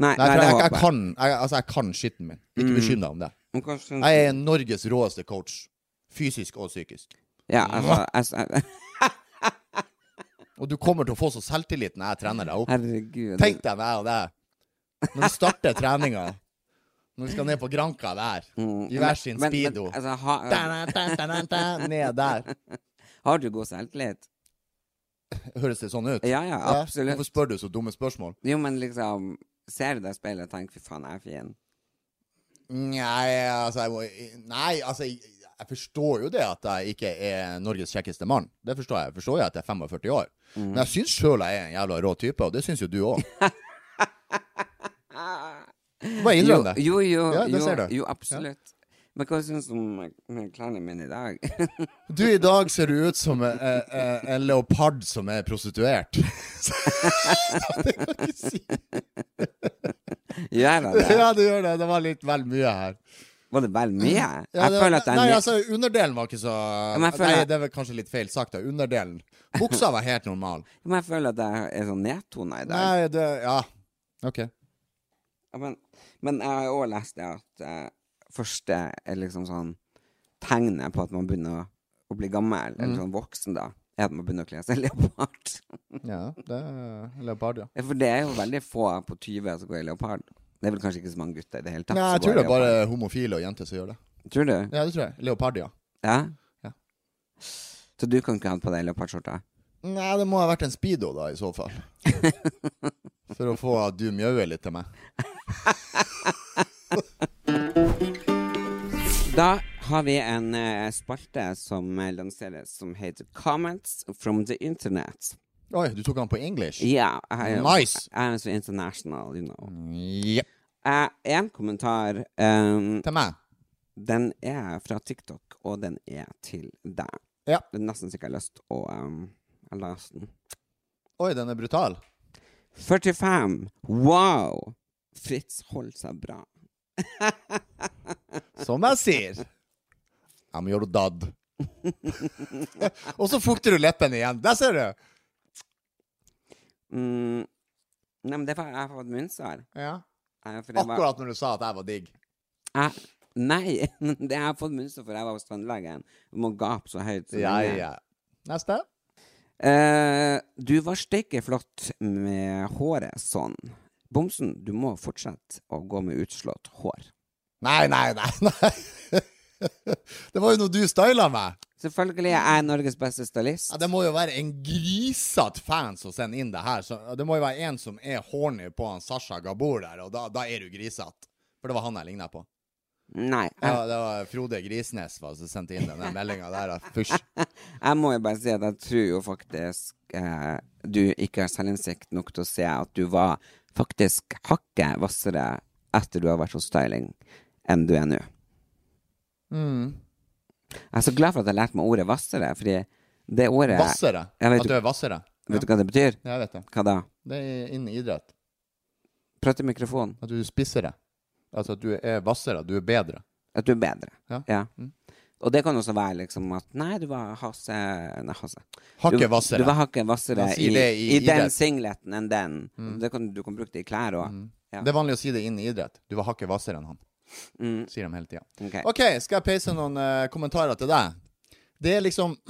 Speaker 9: Nei,
Speaker 8: Nei, for
Speaker 9: det
Speaker 8: jeg, jeg,
Speaker 9: håper Mm.
Speaker 8: kan, jeg, altså, jeg kan skitten min. Ikke bekymr deg om det.
Speaker 9: Men kanskje-
Speaker 8: Jeg er Norges råeste coach. Fysisk og psykisk.
Speaker 9: Ja, altså, altså,
Speaker 8: Og du kommer til å få så selvtillit når jeg trener deg opp.
Speaker 9: *laughs* herregud.
Speaker 8: Tenk deg meg og deg. Når vi starter treninga, når vi skal ned på Granka der,
Speaker 9: Mm.
Speaker 8: i hver sin
Speaker 9: Men- men-
Speaker 8: speedo
Speaker 9: altså, har,
Speaker 8: Da, da, da, da, da, Ned der.
Speaker 9: har du god selvtillit?
Speaker 8: Høres det sånn ut?
Speaker 9: Ja, ja, absolutt.
Speaker 8: Hvorfor spør du så dumme spørsmål?
Speaker 9: Jo, men liksom Ser du deg i speilet og tenker 'fy faen, jeg er fin'?
Speaker 8: Nei, altså jeg, må, nei, altså jeg, jeg forstår jo det at jeg ikke er Norges kjekkeste mann. Det forstår jeg. Jeg forstår jo at jeg er 45 år. Men jeg syns sjøl jeg er en jævla rå type, og det syns jo du òg. Bare innrøm det.
Speaker 9: Jo, jo, jo,
Speaker 8: *laughs* Ja, det
Speaker 9: jo,
Speaker 8: ser du.
Speaker 9: jo absolutt. Men hva syns du om eh, klærne mine i dag? *laughs*
Speaker 8: Du, i dag ser du ut som en, en, en leopard som er prostituert. *laughs* det kan jeg ikke si.
Speaker 9: Gjør jeg det?
Speaker 8: *laughs* Ja, du gjør det. Det var litt vel mye her.
Speaker 9: Var det vel mye?
Speaker 8: Ja,
Speaker 9: Jeg
Speaker 8: det,
Speaker 9: føler at jeg
Speaker 8: nei,
Speaker 9: er nø-
Speaker 8: altså, underdelen var ikke så
Speaker 9: men jeg føler-
Speaker 8: Nei, det er vel kanskje litt feil sagt, da. Underdelen. Buksa var helt
Speaker 9: *laughs*
Speaker 8: normal.
Speaker 9: Men jeg føler at jeg er sånn nedtona i dag.
Speaker 8: Nei, det Ja. OK.
Speaker 9: Ja, Men, men jeg har òg lest det at eh, første er liksom sånn tegnet på at man begynner å, å bli gammel,
Speaker 8: Mm.
Speaker 9: eller sånn voksen, da, er at man begynner å kle seg *laughs* leopard.
Speaker 8: Ja, det er leopard, ja.
Speaker 9: Ja, For det er jo veldig få på 20 som går i leopard. Det er vel kanskje ikke så mange gutter i det hele tatt.
Speaker 8: Nei,
Speaker 9: som
Speaker 8: jeg
Speaker 9: går i
Speaker 8: tror det er bare
Speaker 9: leopard.
Speaker 8: homofile og jenter som gjør det.
Speaker 9: Tror du?
Speaker 8: Ja, det tror jeg. Leopard, ja.
Speaker 9: Ja?
Speaker 8: Ja.
Speaker 9: Så du kan ikke ha på deg leopardskjorta?
Speaker 8: Nei, det må ha vært en speedo, da, i så
Speaker 9: *laughs*
Speaker 8: fall. For å få at du mjauer litt til meg.
Speaker 9: Da har vi en eh, spalte som eh, lanseres som heter Comments from the Internet.
Speaker 8: Oi, du tok han på English?
Speaker 9: Ja, jeg er jo-
Speaker 8: Nice.
Speaker 9: jeg er jo så international, you know.
Speaker 8: Ja.
Speaker 9: Eh, en kommentar. ehm,
Speaker 8: Til meg?
Speaker 9: den er fra TikTok, og den er til deg.
Speaker 8: Ja.
Speaker 9: Det er nesten så jeg ikke har lyst til å ehm, jeg leser den.
Speaker 8: Oi, den er brutal.
Speaker 9: 45. Wow! Fritz holder seg bra.
Speaker 8: Som jeg sier. I'm your dad. og så fukter du leppene igjen. Der ser du!
Speaker 9: Mm. Nei, men det er for jeg har fått munnsår.
Speaker 8: Ja.
Speaker 9: Eh, for jeg var-
Speaker 8: Akkurat når du sa at jeg var digg.
Speaker 9: Jeg, nei, *laughs* det har jeg fått munnsår for jeg var hos tannlegen. Du må gape så høyt. som
Speaker 8: Ja,
Speaker 9: lenge.
Speaker 8: ja. Neste.
Speaker 9: Eh, du var steike flott med håret sånn. Bomsen, du må fortsette å gå med utslått hår.
Speaker 8: Nei, nei, nei. nei. *laughs* det var jo når du styla meg.
Speaker 9: Selvfølgelig er jeg Norges beste stylist.
Speaker 8: Ja, det må jo være en grisete fan som sender inn det her. Så det må jo være en som er horny på han Sasha Gabor der, og da, da er du grisete. For det var han jeg ligna på.
Speaker 9: Nei, jeg,
Speaker 8: Ja, det var Frode Grisnes var som sendte inn den meldinga der. da. Fysj.
Speaker 9: jeg må jo bare si at jeg tror jo faktisk eh, du ikke har selvinnsikt nok til å se at du var faktisk hakket hvassere etter du har vært hos styling enn du er nå. Jeg er så glad for at jeg lærte meg ordet hvassere, fordi det ordet
Speaker 8: Vassere.
Speaker 9: Jeg vet
Speaker 8: At du er vassere.
Speaker 9: Vet du hva det betyr?
Speaker 8: Ja, jeg vet det.
Speaker 9: Hva da?
Speaker 8: Det er innen idrett.
Speaker 9: Prate i mikrofonen.
Speaker 8: At du spisser det. Altså at du er vassere, du er bedre.
Speaker 9: At du er bedre.
Speaker 8: Ja. Mm.
Speaker 9: Og det kan også være liksom at Nei, du var hasse Nei, hasse.
Speaker 8: Hakket
Speaker 9: Du-
Speaker 8: vassere.
Speaker 9: Du var hakket vassere
Speaker 8: Man
Speaker 9: i,
Speaker 8: sier det i
Speaker 9: i den
Speaker 8: idrett. Mm.
Speaker 9: singleten enn den. Det kan, du kan bruke det i klær òg. Ja.
Speaker 8: Det er vanlig å si det innen idrett. Du var hakket vassere enn han.
Speaker 9: Mm.
Speaker 8: Sier de hele tida.
Speaker 9: ok.
Speaker 8: OK, skal jeg peise noen eh, kommentarer til deg? Det er liksom *clears throat* det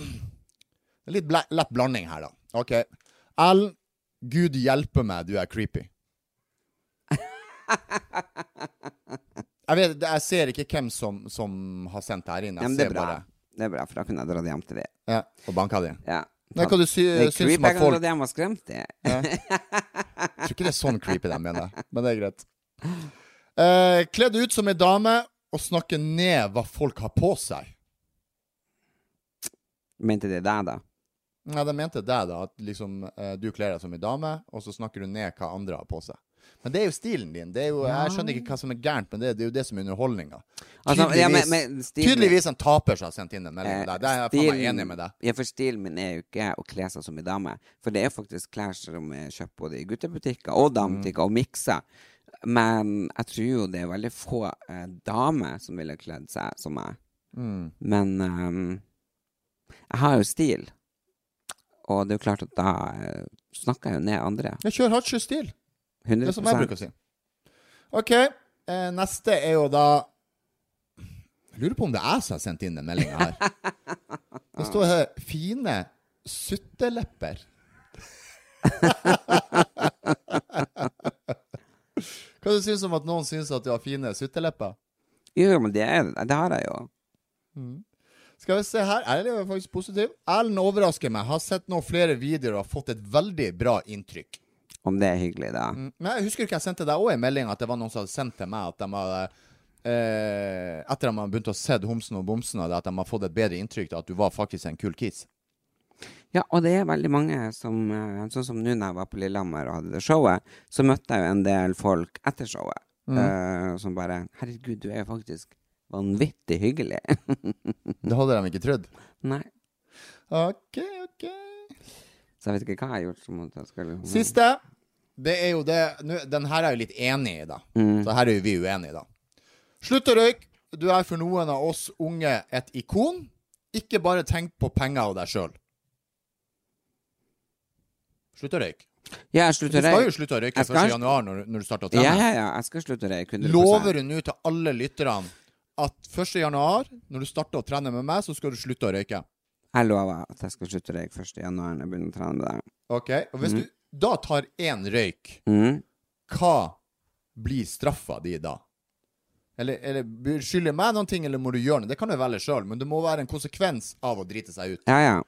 Speaker 8: er Litt ble- lett blanding her, da. OK. L. Gud hjelpe meg, du er creepy.
Speaker 9: *laughs*
Speaker 8: Jeg vet, jeg ser ikke hvem som, som har sendt det her inn.
Speaker 9: Ja,
Speaker 8: Jeg
Speaker 9: men det
Speaker 8: ser
Speaker 9: er bra.
Speaker 8: bare
Speaker 9: Det er bra, for da kunne jeg dratt hjem til deg.
Speaker 8: ja, og banka det inn.
Speaker 9: Ja.
Speaker 8: Nei, hva du sy
Speaker 9: Det er
Speaker 8: syns
Speaker 9: creepy.
Speaker 8: om
Speaker 9: Jeg
Speaker 8: at
Speaker 9: kan
Speaker 8: folk
Speaker 9: dratt hjem og skremt deg.
Speaker 8: Jeg tror ikke det er sånn creepy de mener, men det er
Speaker 9: *laughs*
Speaker 8: greit. Eh, kledd ut som ei dame og snakke ned hva folk har på seg.
Speaker 9: Mente det deg, da?
Speaker 8: Nei, de mente deg, da. At liksom, eh, du kler deg som ei dame, og så snakker du ned hva andre har på seg. Men det er jo stilen din. Det er jo, jeg skjønner ikke hva som er gærent, men det, det er jo det som er underholdninga.
Speaker 9: Altså, ja, men-
Speaker 8: Tydeligvis,
Speaker 9: men stilen- Eh,
Speaker 8: tydeligvis en taper som har sendt inn en melding til deg. Det er jeg faen meg
Speaker 9: stilen-
Speaker 8: enig med deg.
Speaker 9: Ja, for stilen min er jo ikke å kle seg som ei dame. For det er jo faktisk klær som er kjøpt både i guttebutikker og damebutikker, og miksa. Men jeg tror jo det er veldig få eh, damer som ville kledd seg som meg.
Speaker 8: Mm.
Speaker 9: Men ehm, jeg har jo stil. Og det er jo klart at da eh, snakker jeg jo ned andre.
Speaker 8: Ja, kjør Hatsjø-stil.
Speaker 9: 100
Speaker 8: Det er som jeg bruker å si. OK. Eh, neste er jo da Jeg lurer på om det er jeg som har sendt inn den meldinga *laughs* her. Det står her 'fine suttelepper'. *laughs* Hva du syns du om at noen syns at du har fine suttelepper?
Speaker 9: Jo, jo, men det, er, det har jeg jo.
Speaker 8: Skal vi se her, Erlend er faktisk positiv. Erlend overrasker meg. Har sett noen flere videoer og har fått et veldig bra inntrykk.
Speaker 9: Om det er hyggelig, da.
Speaker 8: Men jeg husker ikke jeg sendte deg òg en melding at det var noen som hadde sendt til meg at de hadde eh, Etter at de hadde begynt å se Homsen og Bomsen, og det at de har fått et bedre inntrykk av at du var faktisk en kul kis.
Speaker 9: Ja, og det er veldig mange som eh, Sånn som nå når jeg var på Lillehammer og hadde det showet,
Speaker 8: Mm.
Speaker 9: så møtte jeg jo en del folk etter showet eh, som bare 'Herregud, du er jo faktisk vanvittig hyggelig. *laughs*
Speaker 8: Det hadde de ikke trodd.
Speaker 9: Nei.
Speaker 8: OK, OK.
Speaker 9: Så jeg vet ikke hva jeg har gjort som at jeg skal liksom
Speaker 8: Siste. Det er jo det nå, Den her er jeg jo litt enig i, da. Så her er jo vi uenige, da. Slutt å røyke. Du er for noen av oss unge et ikon. Ikke bare tenk på penger og deg sjøl. Slutt å røyke.
Speaker 9: Ja, jeg slutter
Speaker 8: Du
Speaker 9: å
Speaker 8: skal jo
Speaker 9: røyke.
Speaker 8: slutte å røyke
Speaker 9: Jeg skal-
Speaker 8: 1. januar når, når du starter å
Speaker 9: Ja,
Speaker 8: trene.
Speaker 9: ja, ja. Jeg skal slutte å røyke. 100%.
Speaker 8: Lover du nå til alle lytterne at 1. januar, når du starter å trene med meg, så skal du slutte å røyke?
Speaker 9: Jeg lover at jeg skal slutte å røyke 1. januar når jeg begynner å trene med deg.
Speaker 8: Ok, og hvis du da tar én røyk,
Speaker 9: Mm.
Speaker 8: hva blir straffa di da? Eller, eller skylder jeg meg noen ting, eller må du gjøre noe? Det kan du velge sjøl, men det må være en konsekvens av å drite seg ut.
Speaker 9: Ja, ja.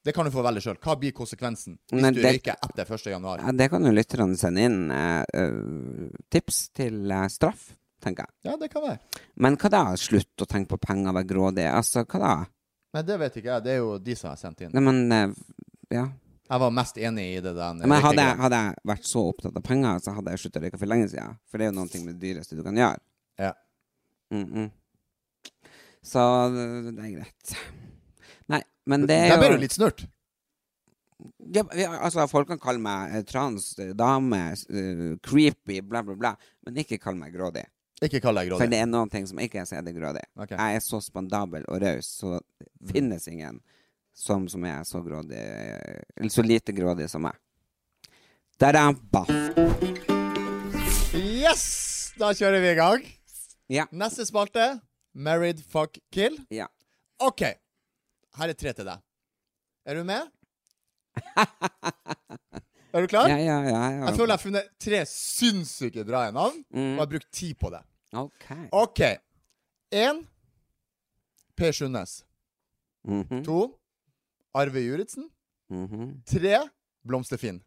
Speaker 8: Det kan du få velge sjøl. Hva blir konsekvensen hvis
Speaker 9: Men
Speaker 8: du
Speaker 9: det-
Speaker 8: røyker etter 1. januar?
Speaker 9: ja. Det kan jo lytterne sende inn eh, øh, tips til eh, straff, tenker jeg.
Speaker 8: Ja, det kan være.
Speaker 9: Men hva da? Slutt å tenke på penger, være grådig? Altså, hva da?
Speaker 8: Nei, det vet ikke jeg. Det er jo de som har sendt inn.
Speaker 9: Nei, men eh, Ja.
Speaker 8: Jeg var mest enig i det der.
Speaker 9: Men hadde jeg, hadde jeg vært så opptatt av penger, så hadde jeg slutta å røyke for lenge siden. For det er jo noe med det dyreste du kan gjøre.
Speaker 8: Ja.
Speaker 9: Mm -mm. Så eh, det det er greit. Nei, men det er
Speaker 8: Der ble
Speaker 9: jo
Speaker 8: du litt snurt.
Speaker 9: ja, vi- altså, Folk kan kalle meg eh, trans, eh, dame, eh, creepy, bla, bla, bla. Men ikke kall meg grådig.
Speaker 8: Ikke kall deg
Speaker 9: For
Speaker 8: grådig.
Speaker 9: det er noen ting som ikke er så er det grådig.
Speaker 8: Ok.
Speaker 9: Jeg er så spandabel og raus, så det finnes ingen som, som er så grådig Eller så lite grådig som meg. Da-dam, baff.
Speaker 8: Yes! Da kjører vi i gang.
Speaker 9: Ja.
Speaker 8: Neste spalte. Married, fuck, kill.
Speaker 9: Ja.
Speaker 8: OK. Her er tre til deg. Er du
Speaker 9: *laughs*
Speaker 8: med? er du
Speaker 9: Ja,
Speaker 8: klar?
Speaker 9: ja, ja. ja.
Speaker 8: Jeg føler jeg har funnet tre sinnssyke bra navn,
Speaker 9: Mm.
Speaker 8: og jeg har brukt tid på det.
Speaker 9: OK.
Speaker 8: OK. Én Per Sundnes.
Speaker 9: Mhm,
Speaker 8: To Arve Juritzen.
Speaker 9: mhm.
Speaker 8: Tre Blomsterfinn.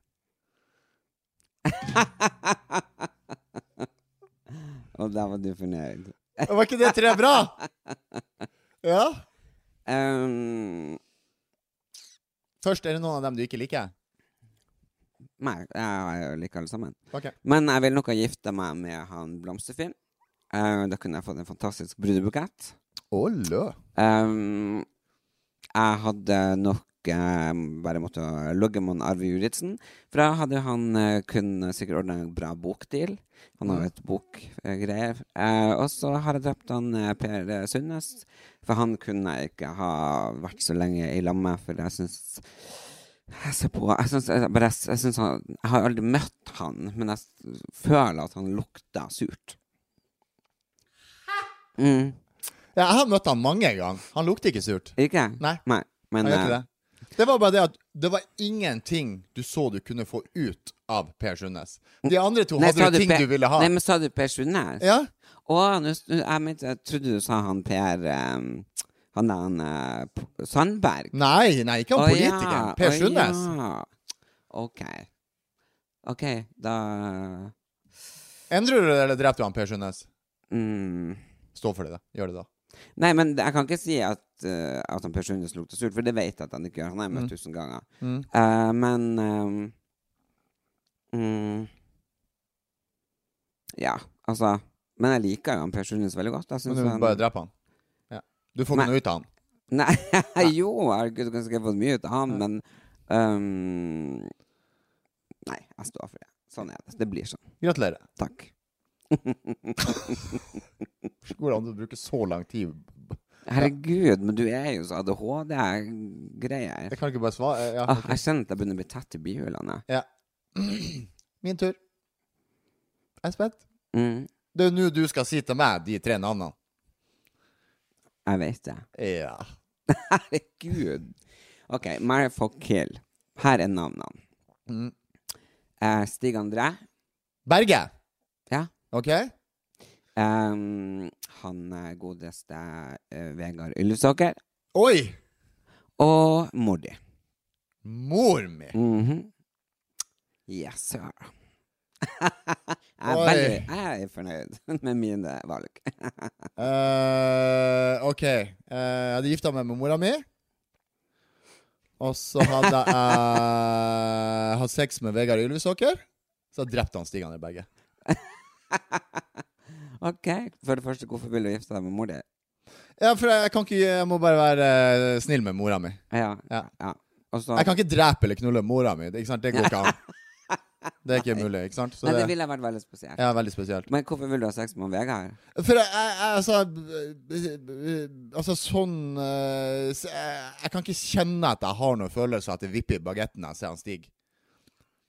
Speaker 9: Og da var du fornøyd.
Speaker 8: Var ikke det tre bra? Ja.
Speaker 9: Um,
Speaker 8: Først, er det noen av dem du ikke liker?
Speaker 9: nei, jeg liker alle sammen.
Speaker 8: OK.
Speaker 9: Men jeg vil nok ha gifta meg med han Blomsterfinn. Eh, da kunne jeg fått en fantastisk brudebukett.
Speaker 8: Å, lø.
Speaker 9: Ehm, jeg hadde nok eh, bare måtte logge med han Arve Juritzen. For da hadde han eh, kun sikkert ordna en bra bokdeal. Han
Speaker 8: Mm.
Speaker 9: har jo et bokgreier. Uh, og så har jeg drept han eh, Per eh, Sundnes. For han kunne jeg ikke ha vært så lenge i lag med, for jeg syns jeg ser på Jeg syns jeg, bare, jeg, syns han, jeg har aldri møtt han, men jeg s- føler at han lukta surt. Mm.
Speaker 8: Ja, jeg har møtt han mange ganger. Han lukter ikke surt.
Speaker 9: Ikke?
Speaker 8: Nei.
Speaker 9: men
Speaker 8: Han gjør
Speaker 9: eh,
Speaker 8: ikke det. Det var bare det at det var ingenting du så du kunne få ut av Per Sundnes. De andre to
Speaker 9: Nei, sa
Speaker 8: hadde jo ting
Speaker 9: Per-
Speaker 8: du ville ha.
Speaker 9: Nei, men sa du Per Sundnes?
Speaker 8: Ja?
Speaker 9: Å, nå s- nå- jeg, mente- jeg trodde du sa han Per ehm, Han der han eh, P- Sandberg.
Speaker 8: Nei, nei, ikke han
Speaker 9: Å, ja.
Speaker 8: politikeren. Per
Speaker 9: Å,
Speaker 8: Sundnes.
Speaker 9: ja. OK. OK, da
Speaker 8: Endrer du det, eller dreper du han Per Sundnes?
Speaker 9: mm.
Speaker 8: Stå for det, da. Gjør det, da.
Speaker 9: Nei, men jeg kan ikke si at, eh, at han Per Sundnes lukter surt, for det vet jeg at han ikke gjør. Han har jeg møtt tusen ganger.
Speaker 8: Mm.
Speaker 9: Eh, men ehm, mm, Ja, altså Men jeg liker jo han Per Sundnes veldig godt. Jeg
Speaker 8: Men
Speaker 9: synes
Speaker 8: du må
Speaker 9: han-
Speaker 8: bare drepe han. Ja. Du får
Speaker 9: Nei.
Speaker 8: noe ut av han.
Speaker 9: Nei, *laughs* jo, herregud, kanskje jeg har fått mye ut av han, men øhm, Nei, jeg står for det. Sånn er det. Det blir sånn.
Speaker 8: Gratulerer.
Speaker 9: Takgår
Speaker 8: Går det an å bruke så lang tid?
Speaker 9: Herregud, men du er jo så ADHD-greier.
Speaker 8: Jeg kan ikke bare svare. Ja.
Speaker 9: Ah, jeg kjenner at jeg begynner å bli tett i bihulene.
Speaker 8: ja. *clears throat* Min tur. Jeg er spent.
Speaker 9: Mm,
Speaker 8: Det er jo nå du skal si til meg de tre navnene.
Speaker 9: jeg vet det.
Speaker 8: Ja.
Speaker 9: Herregud. OK, Mary Fuck Kill. Her er navnene.
Speaker 8: Mm.
Speaker 9: Eh, Stig André.
Speaker 8: Berge.
Speaker 9: Ja.
Speaker 8: OK?
Speaker 9: Ehm, han eh, godeste eh, Vegard Ylvesåker.
Speaker 8: Oi!
Speaker 9: Og mor di.
Speaker 8: Mor mi!
Speaker 9: Mhm. Yes, sir. jeg, er
Speaker 8: Oi.
Speaker 9: veldig, jeg er fornøyd *laughs* med mine valg.
Speaker 8: Eh, OK. Eh, jeg hadde gifta meg med mora mi. Og så hadde
Speaker 9: *laughs*
Speaker 8: jeg eh, hatt sex med Vegard Ylvisåker. Så drepte han Stig André Berge.
Speaker 9: OK. For det første, hvorfor vil du gifte deg med mor di?
Speaker 8: Ja, for jeg kan ikke Jeg må bare være eh, snill med mora mi.
Speaker 9: Ja.
Speaker 8: Ja.
Speaker 9: Og så
Speaker 8: Jeg kan ikke drepe eller knulle mora mi. Det, ikke sant? det går ikke
Speaker 9: *laughs*
Speaker 8: an. Det er ikke mulig, ikke sant? Så
Speaker 9: Nei, det
Speaker 8: det
Speaker 9: ville vært veldig spesielt.
Speaker 8: er veldig spesielt.
Speaker 9: Men hvorfor vil du ha sex med han Vegard?
Speaker 8: For jeg, jeg, jeg altså eh, Altså, sånn eh, s- jeg, jeg kan ikke kjenne at jeg har noen følelse av at det vipper i bagetten når jeg ser han stige.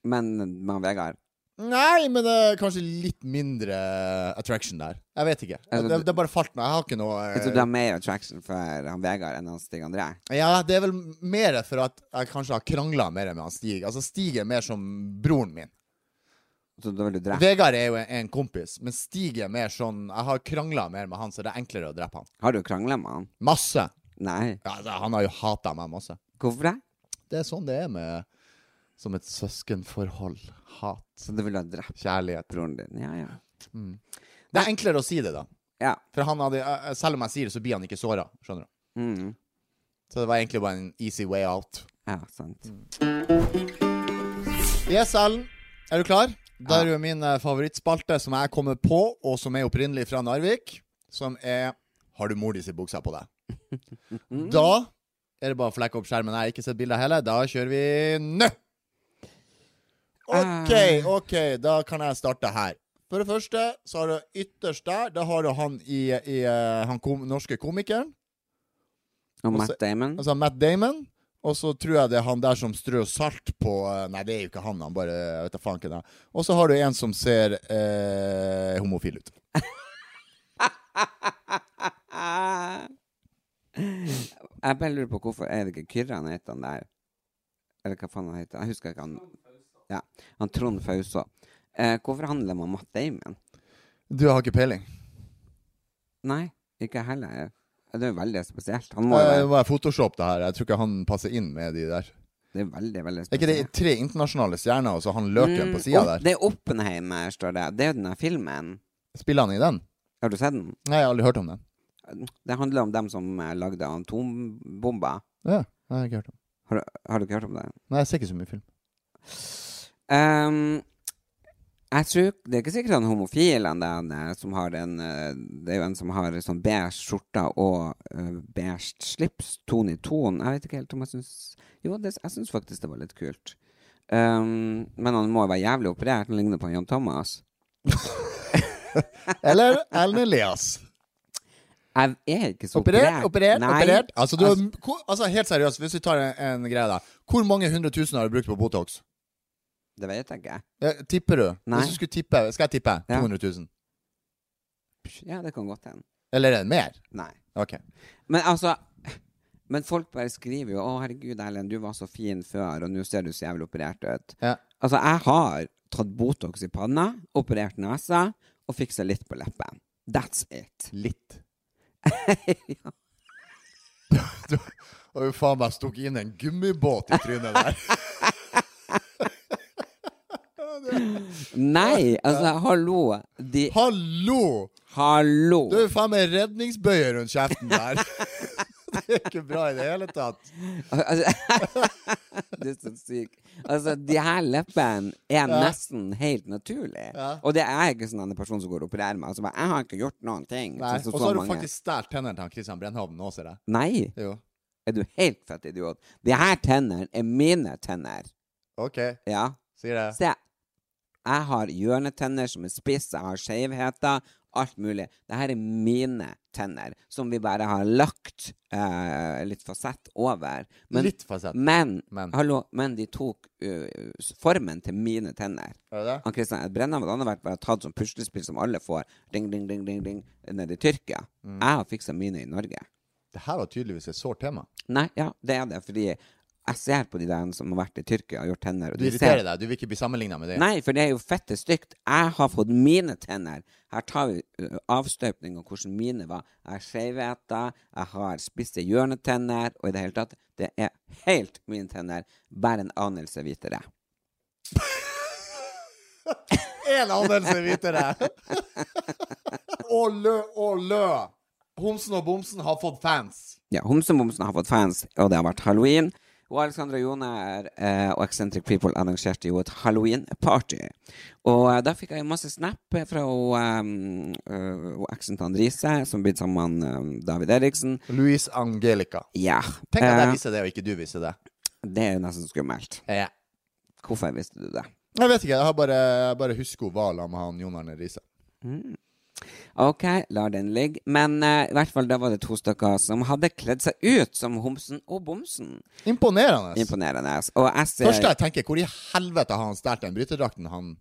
Speaker 9: Men med han Vegard?
Speaker 8: Nei, men det er kanskje litt mindre eh, attraction der. Jeg vet ikke.
Speaker 9: Altså,
Speaker 8: det, det er bare falt meg. Jeg har ikke noe
Speaker 9: Jeg
Speaker 8: eh,
Speaker 9: tror du har mer attraction for han Vegard enn han Stig André.
Speaker 8: Ja, det er vel mer for at jeg kanskje har krangla mer med han Stig. Altså, Stig er mer som broren min.
Speaker 9: Så da vil du drepe
Speaker 8: Vegard er jo en, en kompis, men Stig er mer sånn Jeg har krangla mer med han, så det er enklere å drepe han.
Speaker 9: Har du krangla med han?
Speaker 8: Masse.
Speaker 9: Nei.
Speaker 8: Ja, Altså, han har jo hata meg masse.
Speaker 9: Hvorfor det?
Speaker 8: Det er sånn det er med Som et søskenforhold. Hat.
Speaker 9: Så du vil ha drept
Speaker 8: Kjærlighet.
Speaker 9: broren din? Ja, ja.
Speaker 8: Det er enklere å si det, da.
Speaker 9: Ja.
Speaker 8: For han hadde, eh, selv om jeg sier det, så blir han ikke såra. Skjønner du?
Speaker 9: Mm.
Speaker 8: Så det var egentlig bare en easy way out.
Speaker 9: Ja, sant.
Speaker 8: Mm. Yes, Ellen. Er du klar? Da er jo min eh, favorittspalte som jeg kommer på, og som er opprinnelig fra Narvik, som er Har du mor di si buksa på deg? da er det bare å flekke opp skjermen. Jeg har ikke sett bildet heller. Da kjører vi nå! OK, OK. Da kan jeg starte her. For det første så har du ytterst der, da har du han i, i eh, han kom, norske komikeren.
Speaker 9: Og
Speaker 8: Og så-
Speaker 9: Matt Damon?
Speaker 8: Altså Matt Damon. Og så tror jeg det er han der som strør salt på eh, Nei, det er jo ikke han. Han bare jeg vet da faen hvem det er. Og så har du en som ser eh, homofil ut.
Speaker 9: Ah. Jeg bare lurer på hvorfor er det ikke Kyrre han heter han der? Eller hva faen han heter? Jeg husker ikke han. Ja, han Trond Fausa. Eh, hvorfor handler man Matt Damon?
Speaker 8: Du har ikke peiling.
Speaker 9: Nei, ikke jeg heller. Det er jo veldig spesielt. Han må jo
Speaker 8: Eh, Det
Speaker 9: være
Speaker 8: var Photoshop, det her. Jeg tror ikke han passer inn med de der.
Speaker 9: Det er veldig, veldig
Speaker 8: Er ikke det
Speaker 9: spesielt. Mm.
Speaker 8: tre internasjonale stjerner, og så han løken på sida
Speaker 9: Opp-
Speaker 8: der?
Speaker 9: Det er Oppenheimer, står det. Det er jo den der filmen.
Speaker 8: Spiller han i den?
Speaker 9: Har du sett den?
Speaker 8: Nei, jeg har aldri hørt om den.
Speaker 9: Det handler om dem som eh, lagde atombomber.
Speaker 8: Ja, jeg har ikke hørt om den.
Speaker 9: Har, du- har du ikke hørt om det?
Speaker 8: Nei, jeg ser ikke så
Speaker 9: *laughs*
Speaker 8: mye film.
Speaker 9: Ehm, jeg tror, Det er ikke sikkert han homofil han der han er, som har den eh, Det er jo en som har sånn beige skjorte og eh, beige slips, ton i ton. Jeg vet ikke helt om jeg syns Jo, det, jeg syns faktisk det var litt kult. Ehm, men han må jo være jævlig operert. Han ligner på Jan Thomas.
Speaker 8: Eller Ellen Elias.
Speaker 9: Jeg er ikke så
Speaker 8: Operert,
Speaker 9: operert.
Speaker 8: operert,
Speaker 9: Nei,
Speaker 8: operert. Altså, du, har-
Speaker 9: altså,
Speaker 8: hvor, altså, helt seriøst, hvis vi tar en, en greie der. Hvor mange hundre tusen har du brukt på Botox?
Speaker 9: Det vet jeg ikke.
Speaker 8: Eh, tipper du?
Speaker 9: Nei.
Speaker 8: Hvis du skulle tippe, skal jeg tippe?
Speaker 9: Ja.
Speaker 8: 200 000?
Speaker 9: Ja, det kan godt hende.
Speaker 8: Eller er det mer?
Speaker 9: Nei.
Speaker 8: Ok.
Speaker 9: Men altså Men folk bare skriver jo 'Å, herregud, Erlend, du var så fin før, og nå ser du så jævlig operert ut'.
Speaker 8: Ja.
Speaker 9: Altså, jeg har tatt Botox i panna, operert nesa og fiksa litt på leppen. That's it.
Speaker 8: Litt.
Speaker 9: ja.
Speaker 8: Du har jo faen meg stukket inn en gummibåt i trynet der.
Speaker 9: *laughs* Nei, altså, hallo. De
Speaker 8: Hallo!
Speaker 9: Hallo!
Speaker 8: Du er jo faen meg redningsbøye rundt kjeften der. *laughs* Det er ikke bra i det hele tatt.
Speaker 9: Altså, *laughs* du er så syk. Altså, de her leppene er nesten helt naturlige. Og det er ikke sånn en person som går og opererer meg. Altså, bare, jeg har ikke gjort noen ting.
Speaker 8: Nei.
Speaker 9: Så- så-
Speaker 8: Og så
Speaker 9: så
Speaker 8: har du
Speaker 9: mange-
Speaker 8: faktisk stjålet tennene til han Christian Brennhovden nå, ser jeg.
Speaker 9: Nei!
Speaker 8: Jo.
Speaker 9: Er du helt fett idiot? De her tennene er mine tenner.
Speaker 8: OK,
Speaker 9: Ja.
Speaker 8: sier jeg.
Speaker 9: Se. Jeg har hjørnetenner som er spiss, jeg har skjevheter, alt mulig. Det her er mine tenner, som vi bare har lagt eh, litt fasett over.
Speaker 8: Litt fasett.
Speaker 9: Men,
Speaker 8: Men.
Speaker 9: Hallo, men de tok eh, s- formen til mine tenner.
Speaker 8: Er det det?
Speaker 9: Han Kristian Ed Brenna hadde vært bare tatt som puslespill som alle får, ding, ding, ding, ding, ding, nede i Tyrkia.
Speaker 8: Mm.
Speaker 9: Jeg har fiksa mine i Norge.
Speaker 8: Det her var tydeligvis et sårt tema.
Speaker 9: Nei, ja, det er det, fordi jeg ser på de der som har vært i Tyrkia og gjort tenner. Og
Speaker 8: Du
Speaker 9: de
Speaker 8: irriterer
Speaker 9: ser-
Speaker 8: deg. Du vil ikke bli sammenligna med det.
Speaker 9: Nei, for det er jo fette stygt. Jeg har fått mine tenner. Her tar vi ø, avstøpning av hvordan mine var. Jeg har skjevheter, jeg har spisse hjørnetenner, og i det hele tatt, det er helt mine tenner. Bare en anelse hvitere.
Speaker 8: En anelse hvitere. *laughs* og lø, og lø. Homsen og bomsen har fått fans.
Speaker 9: Ja, Homsebomsen har fått fans, og det har vært halloween. Og Alexandra Joner eh, og Eccentric People arrangerte jo et Halloween-party. Og eh, da fikk jeg jo masse snap fra hun um, Accent Andrise, som blitt sammen med han, eh, David Eriksen.
Speaker 8: Louise Angelica.
Speaker 9: Ja.
Speaker 8: Tenk at
Speaker 9: eh,
Speaker 8: jeg viser det, og ikke du viser det.
Speaker 9: det er jo nesten skummelt.
Speaker 8: Ja.
Speaker 9: Hvorfor visste du det?
Speaker 8: Jeg vet ikke, jeg har bare, jeg bare husker hun var sammen med han Jon Arne Riise.
Speaker 9: Ok, lar den ligge. Men eh, i hvert fall da var det to stykker som hadde kledd seg ut som Homsen og Bomsen.
Speaker 8: Imponerende.
Speaker 9: Imponerende. Og jeg ser
Speaker 8: Første jeg tenker, hvor i helvete har han stjålet den bryterdrakten? Han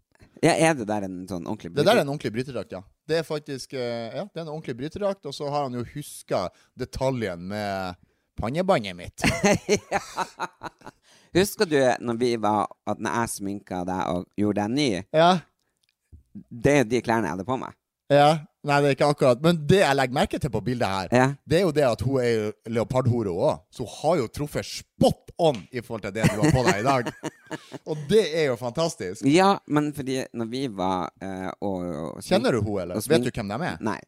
Speaker 9: Ja, er det der en sånn ordentlig
Speaker 8: Det der er en ordentlig bryterdrakt, ja. Det er faktisk eh, Ja, det er en ordentlig bryterdrakt, og så har han jo huska detaljen med pannebåndet mitt.
Speaker 9: Husker du når vi var At når jeg sminka deg og gjorde deg ny?
Speaker 8: Ja,
Speaker 9: Det er de klærne jeg hadde på meg.
Speaker 8: ja. Nei, det er ikke akkurat Men det jeg legger merke til på bildet her,
Speaker 9: Ja.
Speaker 8: det er jo det at hun er jo leopardhore òg. Så hun har jo truffet spot on i forhold til det du har på deg i *laughs* dag. Og det er jo fantastisk.
Speaker 9: Ja, men fordi når vi var eh, og, og
Speaker 8: Kjenner du hun, eller?
Speaker 9: og smink-
Speaker 8: Vet du hvem de er?
Speaker 9: Nei.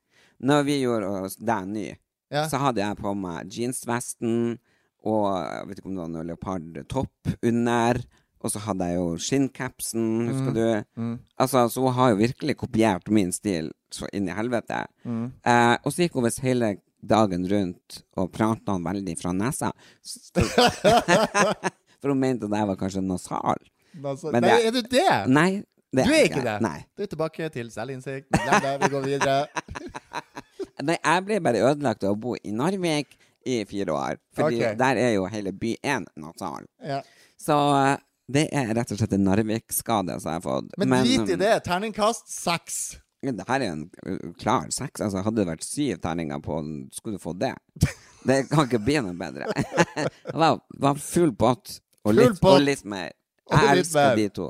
Speaker 9: Når vi gjorde oss deg ny,
Speaker 8: Ja.
Speaker 9: så hadde jeg på meg jeansvesten og jeg vet ikke om det var noe leopardtopp under. Og så hadde jeg jo skinncapsen,
Speaker 8: Mm.
Speaker 9: husker du? Altså, så hun har jo virkelig kopiert min stil så inn i helvete.
Speaker 8: Mm.
Speaker 9: Eh, og så gikk hun visst hele dagen rundt og prata veldig fra
Speaker 8: *laughs*
Speaker 9: nesa. *laughs* S- For hun mente at jeg var kanskje nasal.
Speaker 8: Altså,
Speaker 9: Men
Speaker 8: nei,
Speaker 9: det-
Speaker 8: er du det?
Speaker 9: Nei, det
Speaker 8: Du er ikke det?
Speaker 9: Nei.
Speaker 8: Du er tilbake til selvinnsikt. Glem det, vi går videre.
Speaker 9: Nei, jeg ble bare ødelagt av å bo i Narvik i fire år. Fordi
Speaker 8: Ok.
Speaker 9: der er jo hele byen nasal.
Speaker 8: Ja.
Speaker 9: Så eh, det er rett og slett en Narvik-skade som jeg har fått.
Speaker 8: Men, drit i
Speaker 9: um,
Speaker 8: det. Terningkast seks.
Speaker 9: Det her er en uh, klar seks. Altså, hadde det vært syv terninger på den, skulle du
Speaker 8: *laughs*
Speaker 9: fått det. Det kan ikke bli noe bedre. *laughs* Det var, var full pott og
Speaker 8: Full
Speaker 9: litt,
Speaker 8: pott.
Speaker 9: og litt mer.
Speaker 8: *laughs* Og
Speaker 9: Jeg
Speaker 8: litt mer.
Speaker 9: elsker de to.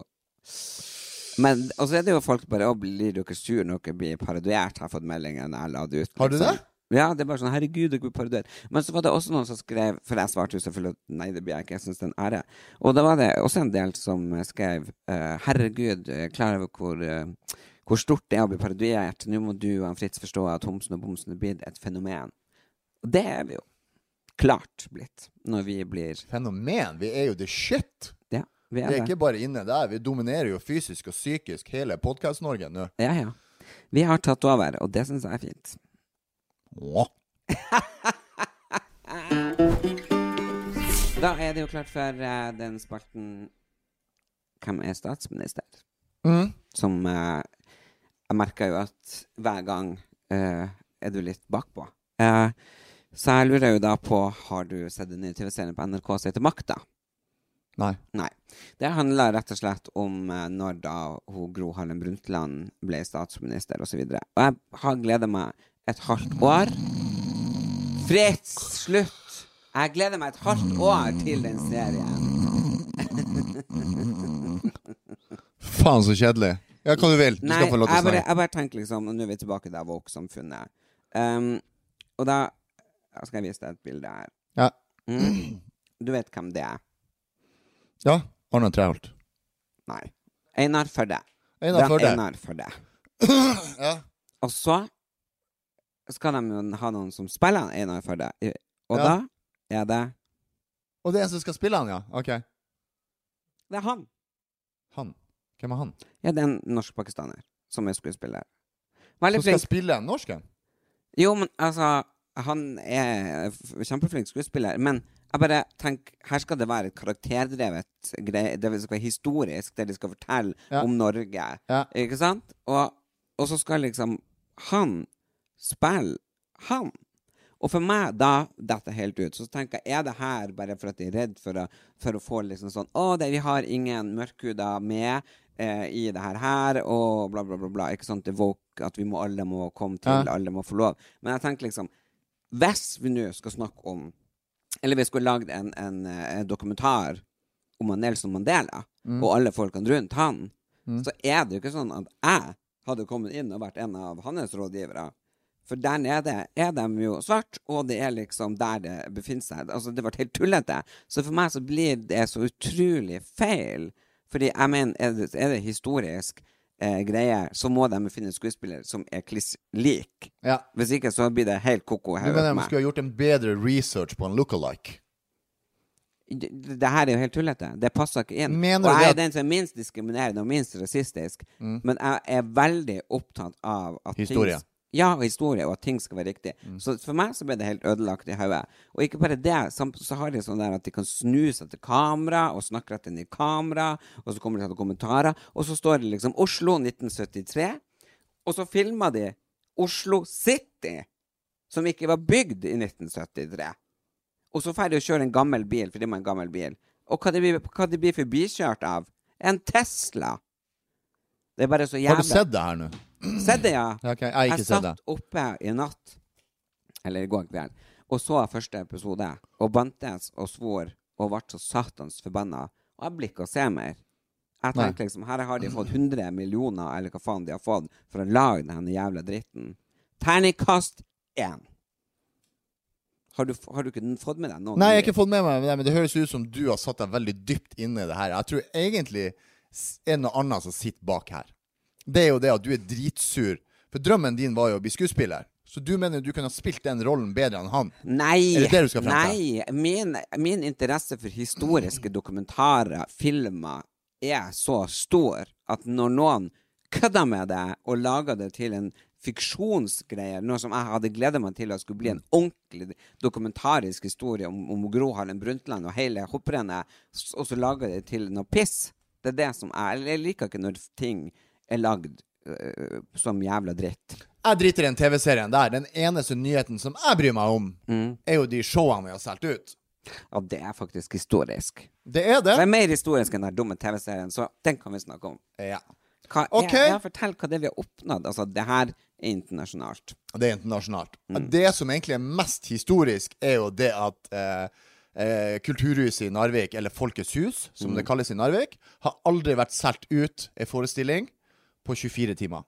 Speaker 9: Men, og så er det jo folk bare Å, blir dere sur når dere blir parodiert? Har jeg fått meldinger når jeg la det ut.
Speaker 8: Har du
Speaker 9: liksom.
Speaker 8: det?
Speaker 9: Ja, det er bare sånn Herregud, dere blir parodiert. Men så var det også noen som skrev For jeg svarte jo selvfølgelig at nei, det blir jeg ikke. Jeg syns det er en ære. Og da var det også en del som skrev eh, Herregud, jeg er klar over hvor eh, hvor stort det er å bli parodiert. Nå må du og han Fritz forstå at Homsen og Bomsen er blitt et fenomen. Og det er vi jo klart blitt når vi blir
Speaker 8: Fenomen. Vi er jo the shit.
Speaker 9: Ja, vi
Speaker 8: Vi
Speaker 9: er
Speaker 8: er
Speaker 9: det.
Speaker 8: ikke bare inne der. Vi dominerer jo fysisk og psykisk hele Podkast-Norge nå.
Speaker 9: Ja, ja. Vi har tatt over, og det syns jeg er fint.
Speaker 8: Åh.
Speaker 9: Da er det jo klart for eh, den spalten Hvem er statsminister?
Speaker 8: Mm.
Speaker 9: Som eh, Jeg merker jo at hver gang eh, er du litt bakpå. Eh, så jeg lurer jo da på Har du sett den nye TV-serien på NRK som heter Makta?
Speaker 8: Nei.
Speaker 9: Nei. Det handler rett og slett om eh, når da hun Gro Harlem Brundtland ble statsminister osv. Og, så og jeg har gleda meg et halvt år Fritz, slutt! Jeg gleder meg et halvt år til den serien.
Speaker 8: Faen, så kjedelig. Ja, hva du vil. Du
Speaker 9: Nei,
Speaker 8: skal få lov til å
Speaker 9: jeg bare,
Speaker 8: snakke.
Speaker 9: jeg bare tenker liksom Nå er vi tilbake der woke-samfunnet. Um, og da ja, skal jeg vise deg et bilde her.
Speaker 8: Ja.
Speaker 9: Mm. Du vet hvem det er?
Speaker 8: ja. Arne Treholt.
Speaker 9: Nei. Einar Førde.
Speaker 8: Einar
Speaker 9: Hvem
Speaker 8: Førde.
Speaker 9: Einar Førde.
Speaker 8: *clears throat* Ja.
Speaker 9: Og så skal de jo ha noen som spiller han Einar Førde. I- Og
Speaker 8: Ja.
Speaker 9: da er det
Speaker 8: Og det er en som skal spille han, ja? OK.
Speaker 9: Det er han.
Speaker 8: Han. Hvem er han?
Speaker 9: Ja, det er en norsk-pakistaner som er skuespiller. Veldig
Speaker 8: Som skal
Speaker 9: flink.
Speaker 8: spille en norsk en?
Speaker 9: Jo, men altså Han er f- kjempeflink skuespiller, men jeg bare tenker Her skal det være et karakterdrevet greie. Det skal være historisk, det de skal fortelle
Speaker 8: Ja.
Speaker 9: om Norge.
Speaker 8: Ja.
Speaker 9: Ikke sant? Og, og så skal liksom han spille han. Og for meg, da detter helt ut. Så tenker jeg, er det her bare for at de er redd for å, for å få liksom sånn Å, det, vi har ingen mørkhuda med eh, i det her her, og bla, bla, bla, bla. Ikke sant? Det er woke, at vi må, alle må komme til,
Speaker 8: Ja.
Speaker 9: alle må få lov. Men jeg tenker liksom Hvis vi nå skal snakke om Eller vi skulle lagd en, en, eh, dokumentar om han Nelson Mandela, og alle folkene rundt han, så er det jo ikke sånn at jeg hadde kommet inn og vært en av hans rådgivere. For der nede er de jo svart, og det er liksom der det befinner seg. Altså, det ble helt tullete. Så for meg så blir det så utrolig feil. Fordi jeg mener, er det, er det historisk eh, greie, så må de finne skuespillere som er kliss lik.
Speaker 8: Ja.
Speaker 9: Hvis ikke så blir det helt koko
Speaker 8: Du
Speaker 9: her.
Speaker 8: mener de skulle ha gjort en bedre research på en look-alike?
Speaker 9: det, det her er jo helt tullete. Det passer ikke inn.
Speaker 8: Mener
Speaker 9: og
Speaker 8: du det
Speaker 9: jeg er
Speaker 8: at- Mm.
Speaker 9: den som er minst diskriminerende og minst rasistisk. Men jeg er veldig opptatt av at
Speaker 8: Historie. Mm.
Speaker 9: Ting, ja, og historie, og at ting skal være riktig. Så for meg så ble det helt ødelagt i hodet. Og ikke bare det, sam- så har de sånn der at de kan snu seg til kamera, og snakke rett inn i kamera, og så kommer de til kommentarer, og så står det liksom Oslo 1973, og så filmer de Oslo City, som ikke var bygd i 1973. Og så ferdig å kjøre en gammel bil, for det var en gammel bil. Og hva det blir, hva det blir forbikjørt av? En Tesla! Det er bare så jævlig
Speaker 8: Har du sett det her nå?
Speaker 9: Sett det, ja.
Speaker 8: Ja, ok, jeg har ikke sett det.
Speaker 9: satt oppe i natt, eller i går kveld, og så første episode, og bantes og svor, og ble så satans forbanna. Og jeg blir ikke å se mer.
Speaker 8: Nei.
Speaker 9: Jeg tenkte liksom, her har de fått 100 millioner, eller hva faen de har fått, for å lage denne jævla dritten. Terningkast én! Har du, har du ikke fått med deg noen?
Speaker 8: Nei, jeg har ikke fått med meg det, men det høres ut som du har satt deg veldig dypt inne i det her. Jeg tror egentlig s- er det noe annet som sitter bak her. Det er jo det at du er dritsur. For drømmen din var jo å bli skuespiller. Så du mener du kunne ha spilt den rollen bedre enn han?
Speaker 9: Nei!
Speaker 8: Er det det du skal frem til?
Speaker 9: nei. Min, min interesse for historiske dokumentarer, filmer, er så stor at når noen kødder med det og lager det til en fiksjonsgreie, noe som jeg hadde gleda meg til at skulle bli en ordentlig dokumentarisk historie om, om Gro Harlem Brundtland og hele hopprennet, s- og så lager det til noe piss. Det er det som er Jeg liker ikke når ting er lagd øh, som jævla dritt.
Speaker 8: Jeg driter i den TV-serien der. Den eneste nyheten som jeg bryr meg om, er jo de showene vi har solgt ut.
Speaker 9: Ja, det er faktisk historisk.
Speaker 8: Det er det.
Speaker 9: Det er mer historisk enn den dumme TV-serien, så den kan vi snakke om.
Speaker 8: Ja.
Speaker 9: Hva er,
Speaker 8: Ok.
Speaker 9: ja, fortell hva det er vi har oppnådd. Altså, det her er internasjonalt.
Speaker 8: Det er internasjonalt. Det som egentlig er mest historisk, er jo det at eh, eh, Kulturhuset i Narvik, eller Folkets hus, som det kalles i Narvik, har aldri vært solgt ut en forestilling på 24 timer.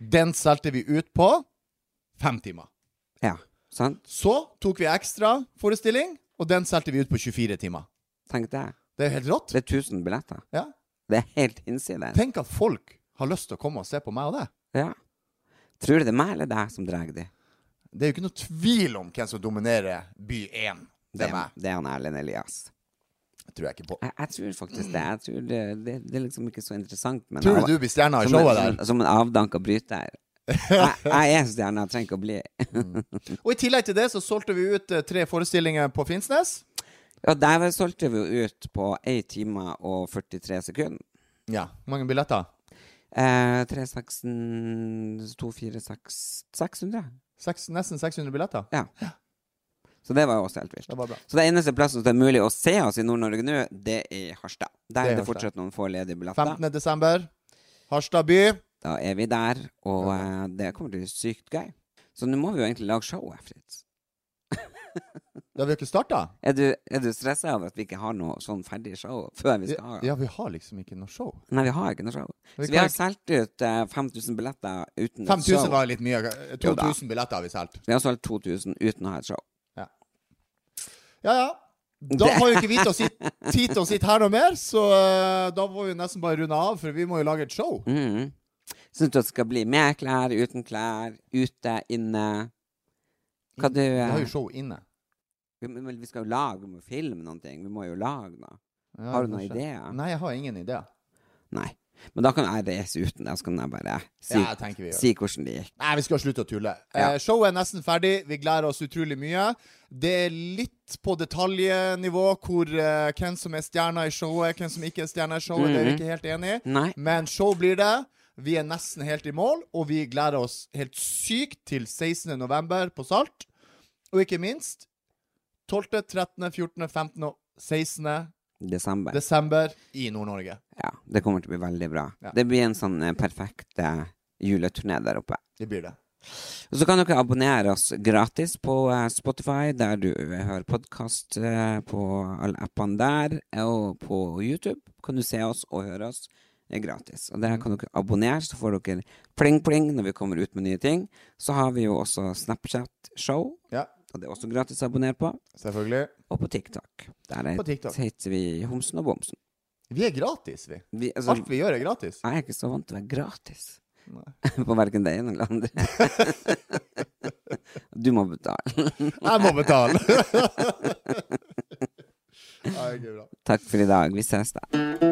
Speaker 8: Den solgte vi ut på fem timer.
Speaker 9: Ja, sant?
Speaker 8: Så tok vi ekstra forestilling, og den solgte vi ut på 24 timer.
Speaker 9: Tenk det.
Speaker 8: Det er jo helt rått.
Speaker 9: Det er 1000 billetter.
Speaker 8: Ja.
Speaker 9: Det er helt hinsides.
Speaker 8: Tenk at folk har lyst til å komme og se på meg og deg.
Speaker 9: Ja. Tror du det er meg eller deg som drar de?
Speaker 8: Det er jo ikke noe tvil om hvem som dominerer by 1. Det er meg.
Speaker 9: Det er han Erlend Elias.
Speaker 8: Tror jeg ikke på.
Speaker 9: Jeg, jeg tror faktisk det. Jeg tror det, det. Det er liksom ikke så interessant. Men
Speaker 8: Tror
Speaker 9: jeg-
Speaker 8: du du blir stjerna i
Speaker 9: som en,
Speaker 8: showet der?
Speaker 9: som- Som en avdanka bryter. Jeg, jeg er stjerne, jeg trenger ikke å bli.
Speaker 8: Og i tillegg til det så solgte vi ut eh, tre forestillinger på Finnsnes.
Speaker 9: Og der var- solgte vi jo ut på 1 time og 43 sekunder.
Speaker 8: Ja. Hvor mange billetter?
Speaker 9: Eh, 3, 6, 2, 4, 6, 600.
Speaker 8: Seks, nesten 600 billetter.
Speaker 9: Ja. Så det var jo også helt vilt.
Speaker 8: Det var bra.
Speaker 9: Så det eneste plassen som det er mulig å se oss i Nord-Norge nå, det er i Harstad. Der
Speaker 8: Det er
Speaker 9: er det
Speaker 8: Harstad.
Speaker 9: fortsatt noen få ledige billetter.
Speaker 8: 15. desember. Harstad by.
Speaker 9: Da er vi der, og eh, det kommer til å bli sykt gøy. Så nå må vi jo egentlig lage showet, Fritz.
Speaker 8: Da har vi jo ikke starta.
Speaker 9: Er du, er du stressa over at vi ikke har noe sånn ferdig show før vi skal ha
Speaker 8: Ja, vi har liksom ikke noe show.
Speaker 9: Nei, vi har ikke noe show.
Speaker 8: Vi
Speaker 9: Så vi har
Speaker 8: kan
Speaker 9: solgt ut eh, 5000 billetter uten et
Speaker 8: 5000
Speaker 9: show.
Speaker 8: var litt mye. eh,
Speaker 9: Jo da.
Speaker 8: 2000 billetter har vi solgt.
Speaker 9: Vi har solgt 2000 uten å ha et show.
Speaker 8: Ja, ja. Da har jo ikke vi til å sitte, tid til å sitte her noe mer, så eh, da må vi nesten bare runde av, for vi må jo lage et show.
Speaker 9: Mm. Syns du at det skal bli med klær, uten klær, ute, inne? Hva du
Speaker 8: Vi Mm, har
Speaker 9: eh,
Speaker 8: jo show inne.
Speaker 9: vi, men vi skal jo lage, vi må filme noen ting. Vi må jo lage noe.
Speaker 8: Ja,
Speaker 9: Har du noen
Speaker 8: kanskje.
Speaker 9: ideer?
Speaker 8: Nei, jeg har ingen ideer.
Speaker 9: Nei. Men da kan jeg reise uten deg, så kan jeg bare si,
Speaker 8: Ja, jeg tenker vi gjør.
Speaker 9: si hvordan det gikk.
Speaker 8: Nei, vi skal slutte å tulle.
Speaker 9: Ja.
Speaker 8: Eh, showet er nesten ferdig. Vi gleder oss utrolig mye. Det er litt på detaljnivå hvor eh, hvem som er stjerna i showet, hvem som ikke er stjerna i showet. Det
Speaker 9: Mhm.
Speaker 8: er vi ikke helt enig i.
Speaker 9: Nei.
Speaker 8: Men show blir det. Vi er nesten helt i mål, og vi gleder oss helt sykt til 16. november på Salt. Og ikke minst 12., 13., 14., 15. og 16.
Speaker 9: Desember.
Speaker 8: desember i Nord-Norge.
Speaker 9: Ja, det kommer til å bli veldig bra.
Speaker 8: Ja.
Speaker 9: Det blir en sånn eh, perfekt eh, juleturné der oppe.
Speaker 8: Det blir det.
Speaker 9: Og så kan dere abonnere oss gratis på eh, Spotify, der du eh, hører podkast på alle appene der. Og på YouTube kan du se oss og høre oss eh, gratis. Og der kan dere abonnere, så får dere pling-pling når vi kommer ut med nye ting. Så har vi jo også Snapchat-show,
Speaker 8: Ja,
Speaker 9: og det er også gratis å abonnere på.
Speaker 8: selvfølgelig.
Speaker 9: Og på TikTok. Der er,
Speaker 8: På TikTok.
Speaker 9: heter vi Homsen og Bomsen.
Speaker 8: Vi er gratis, vi.
Speaker 9: Vi, altså,
Speaker 8: Alt vi gjør, er gratis.
Speaker 9: jeg er ikke så vant til å være gratis. *laughs* på verken det ene eller
Speaker 8: *laughs*
Speaker 9: det andre. du må betale.
Speaker 8: Jeg må betale. *laughs* Nei, ikke bra.
Speaker 9: Takk for i dag. Vi ses, da.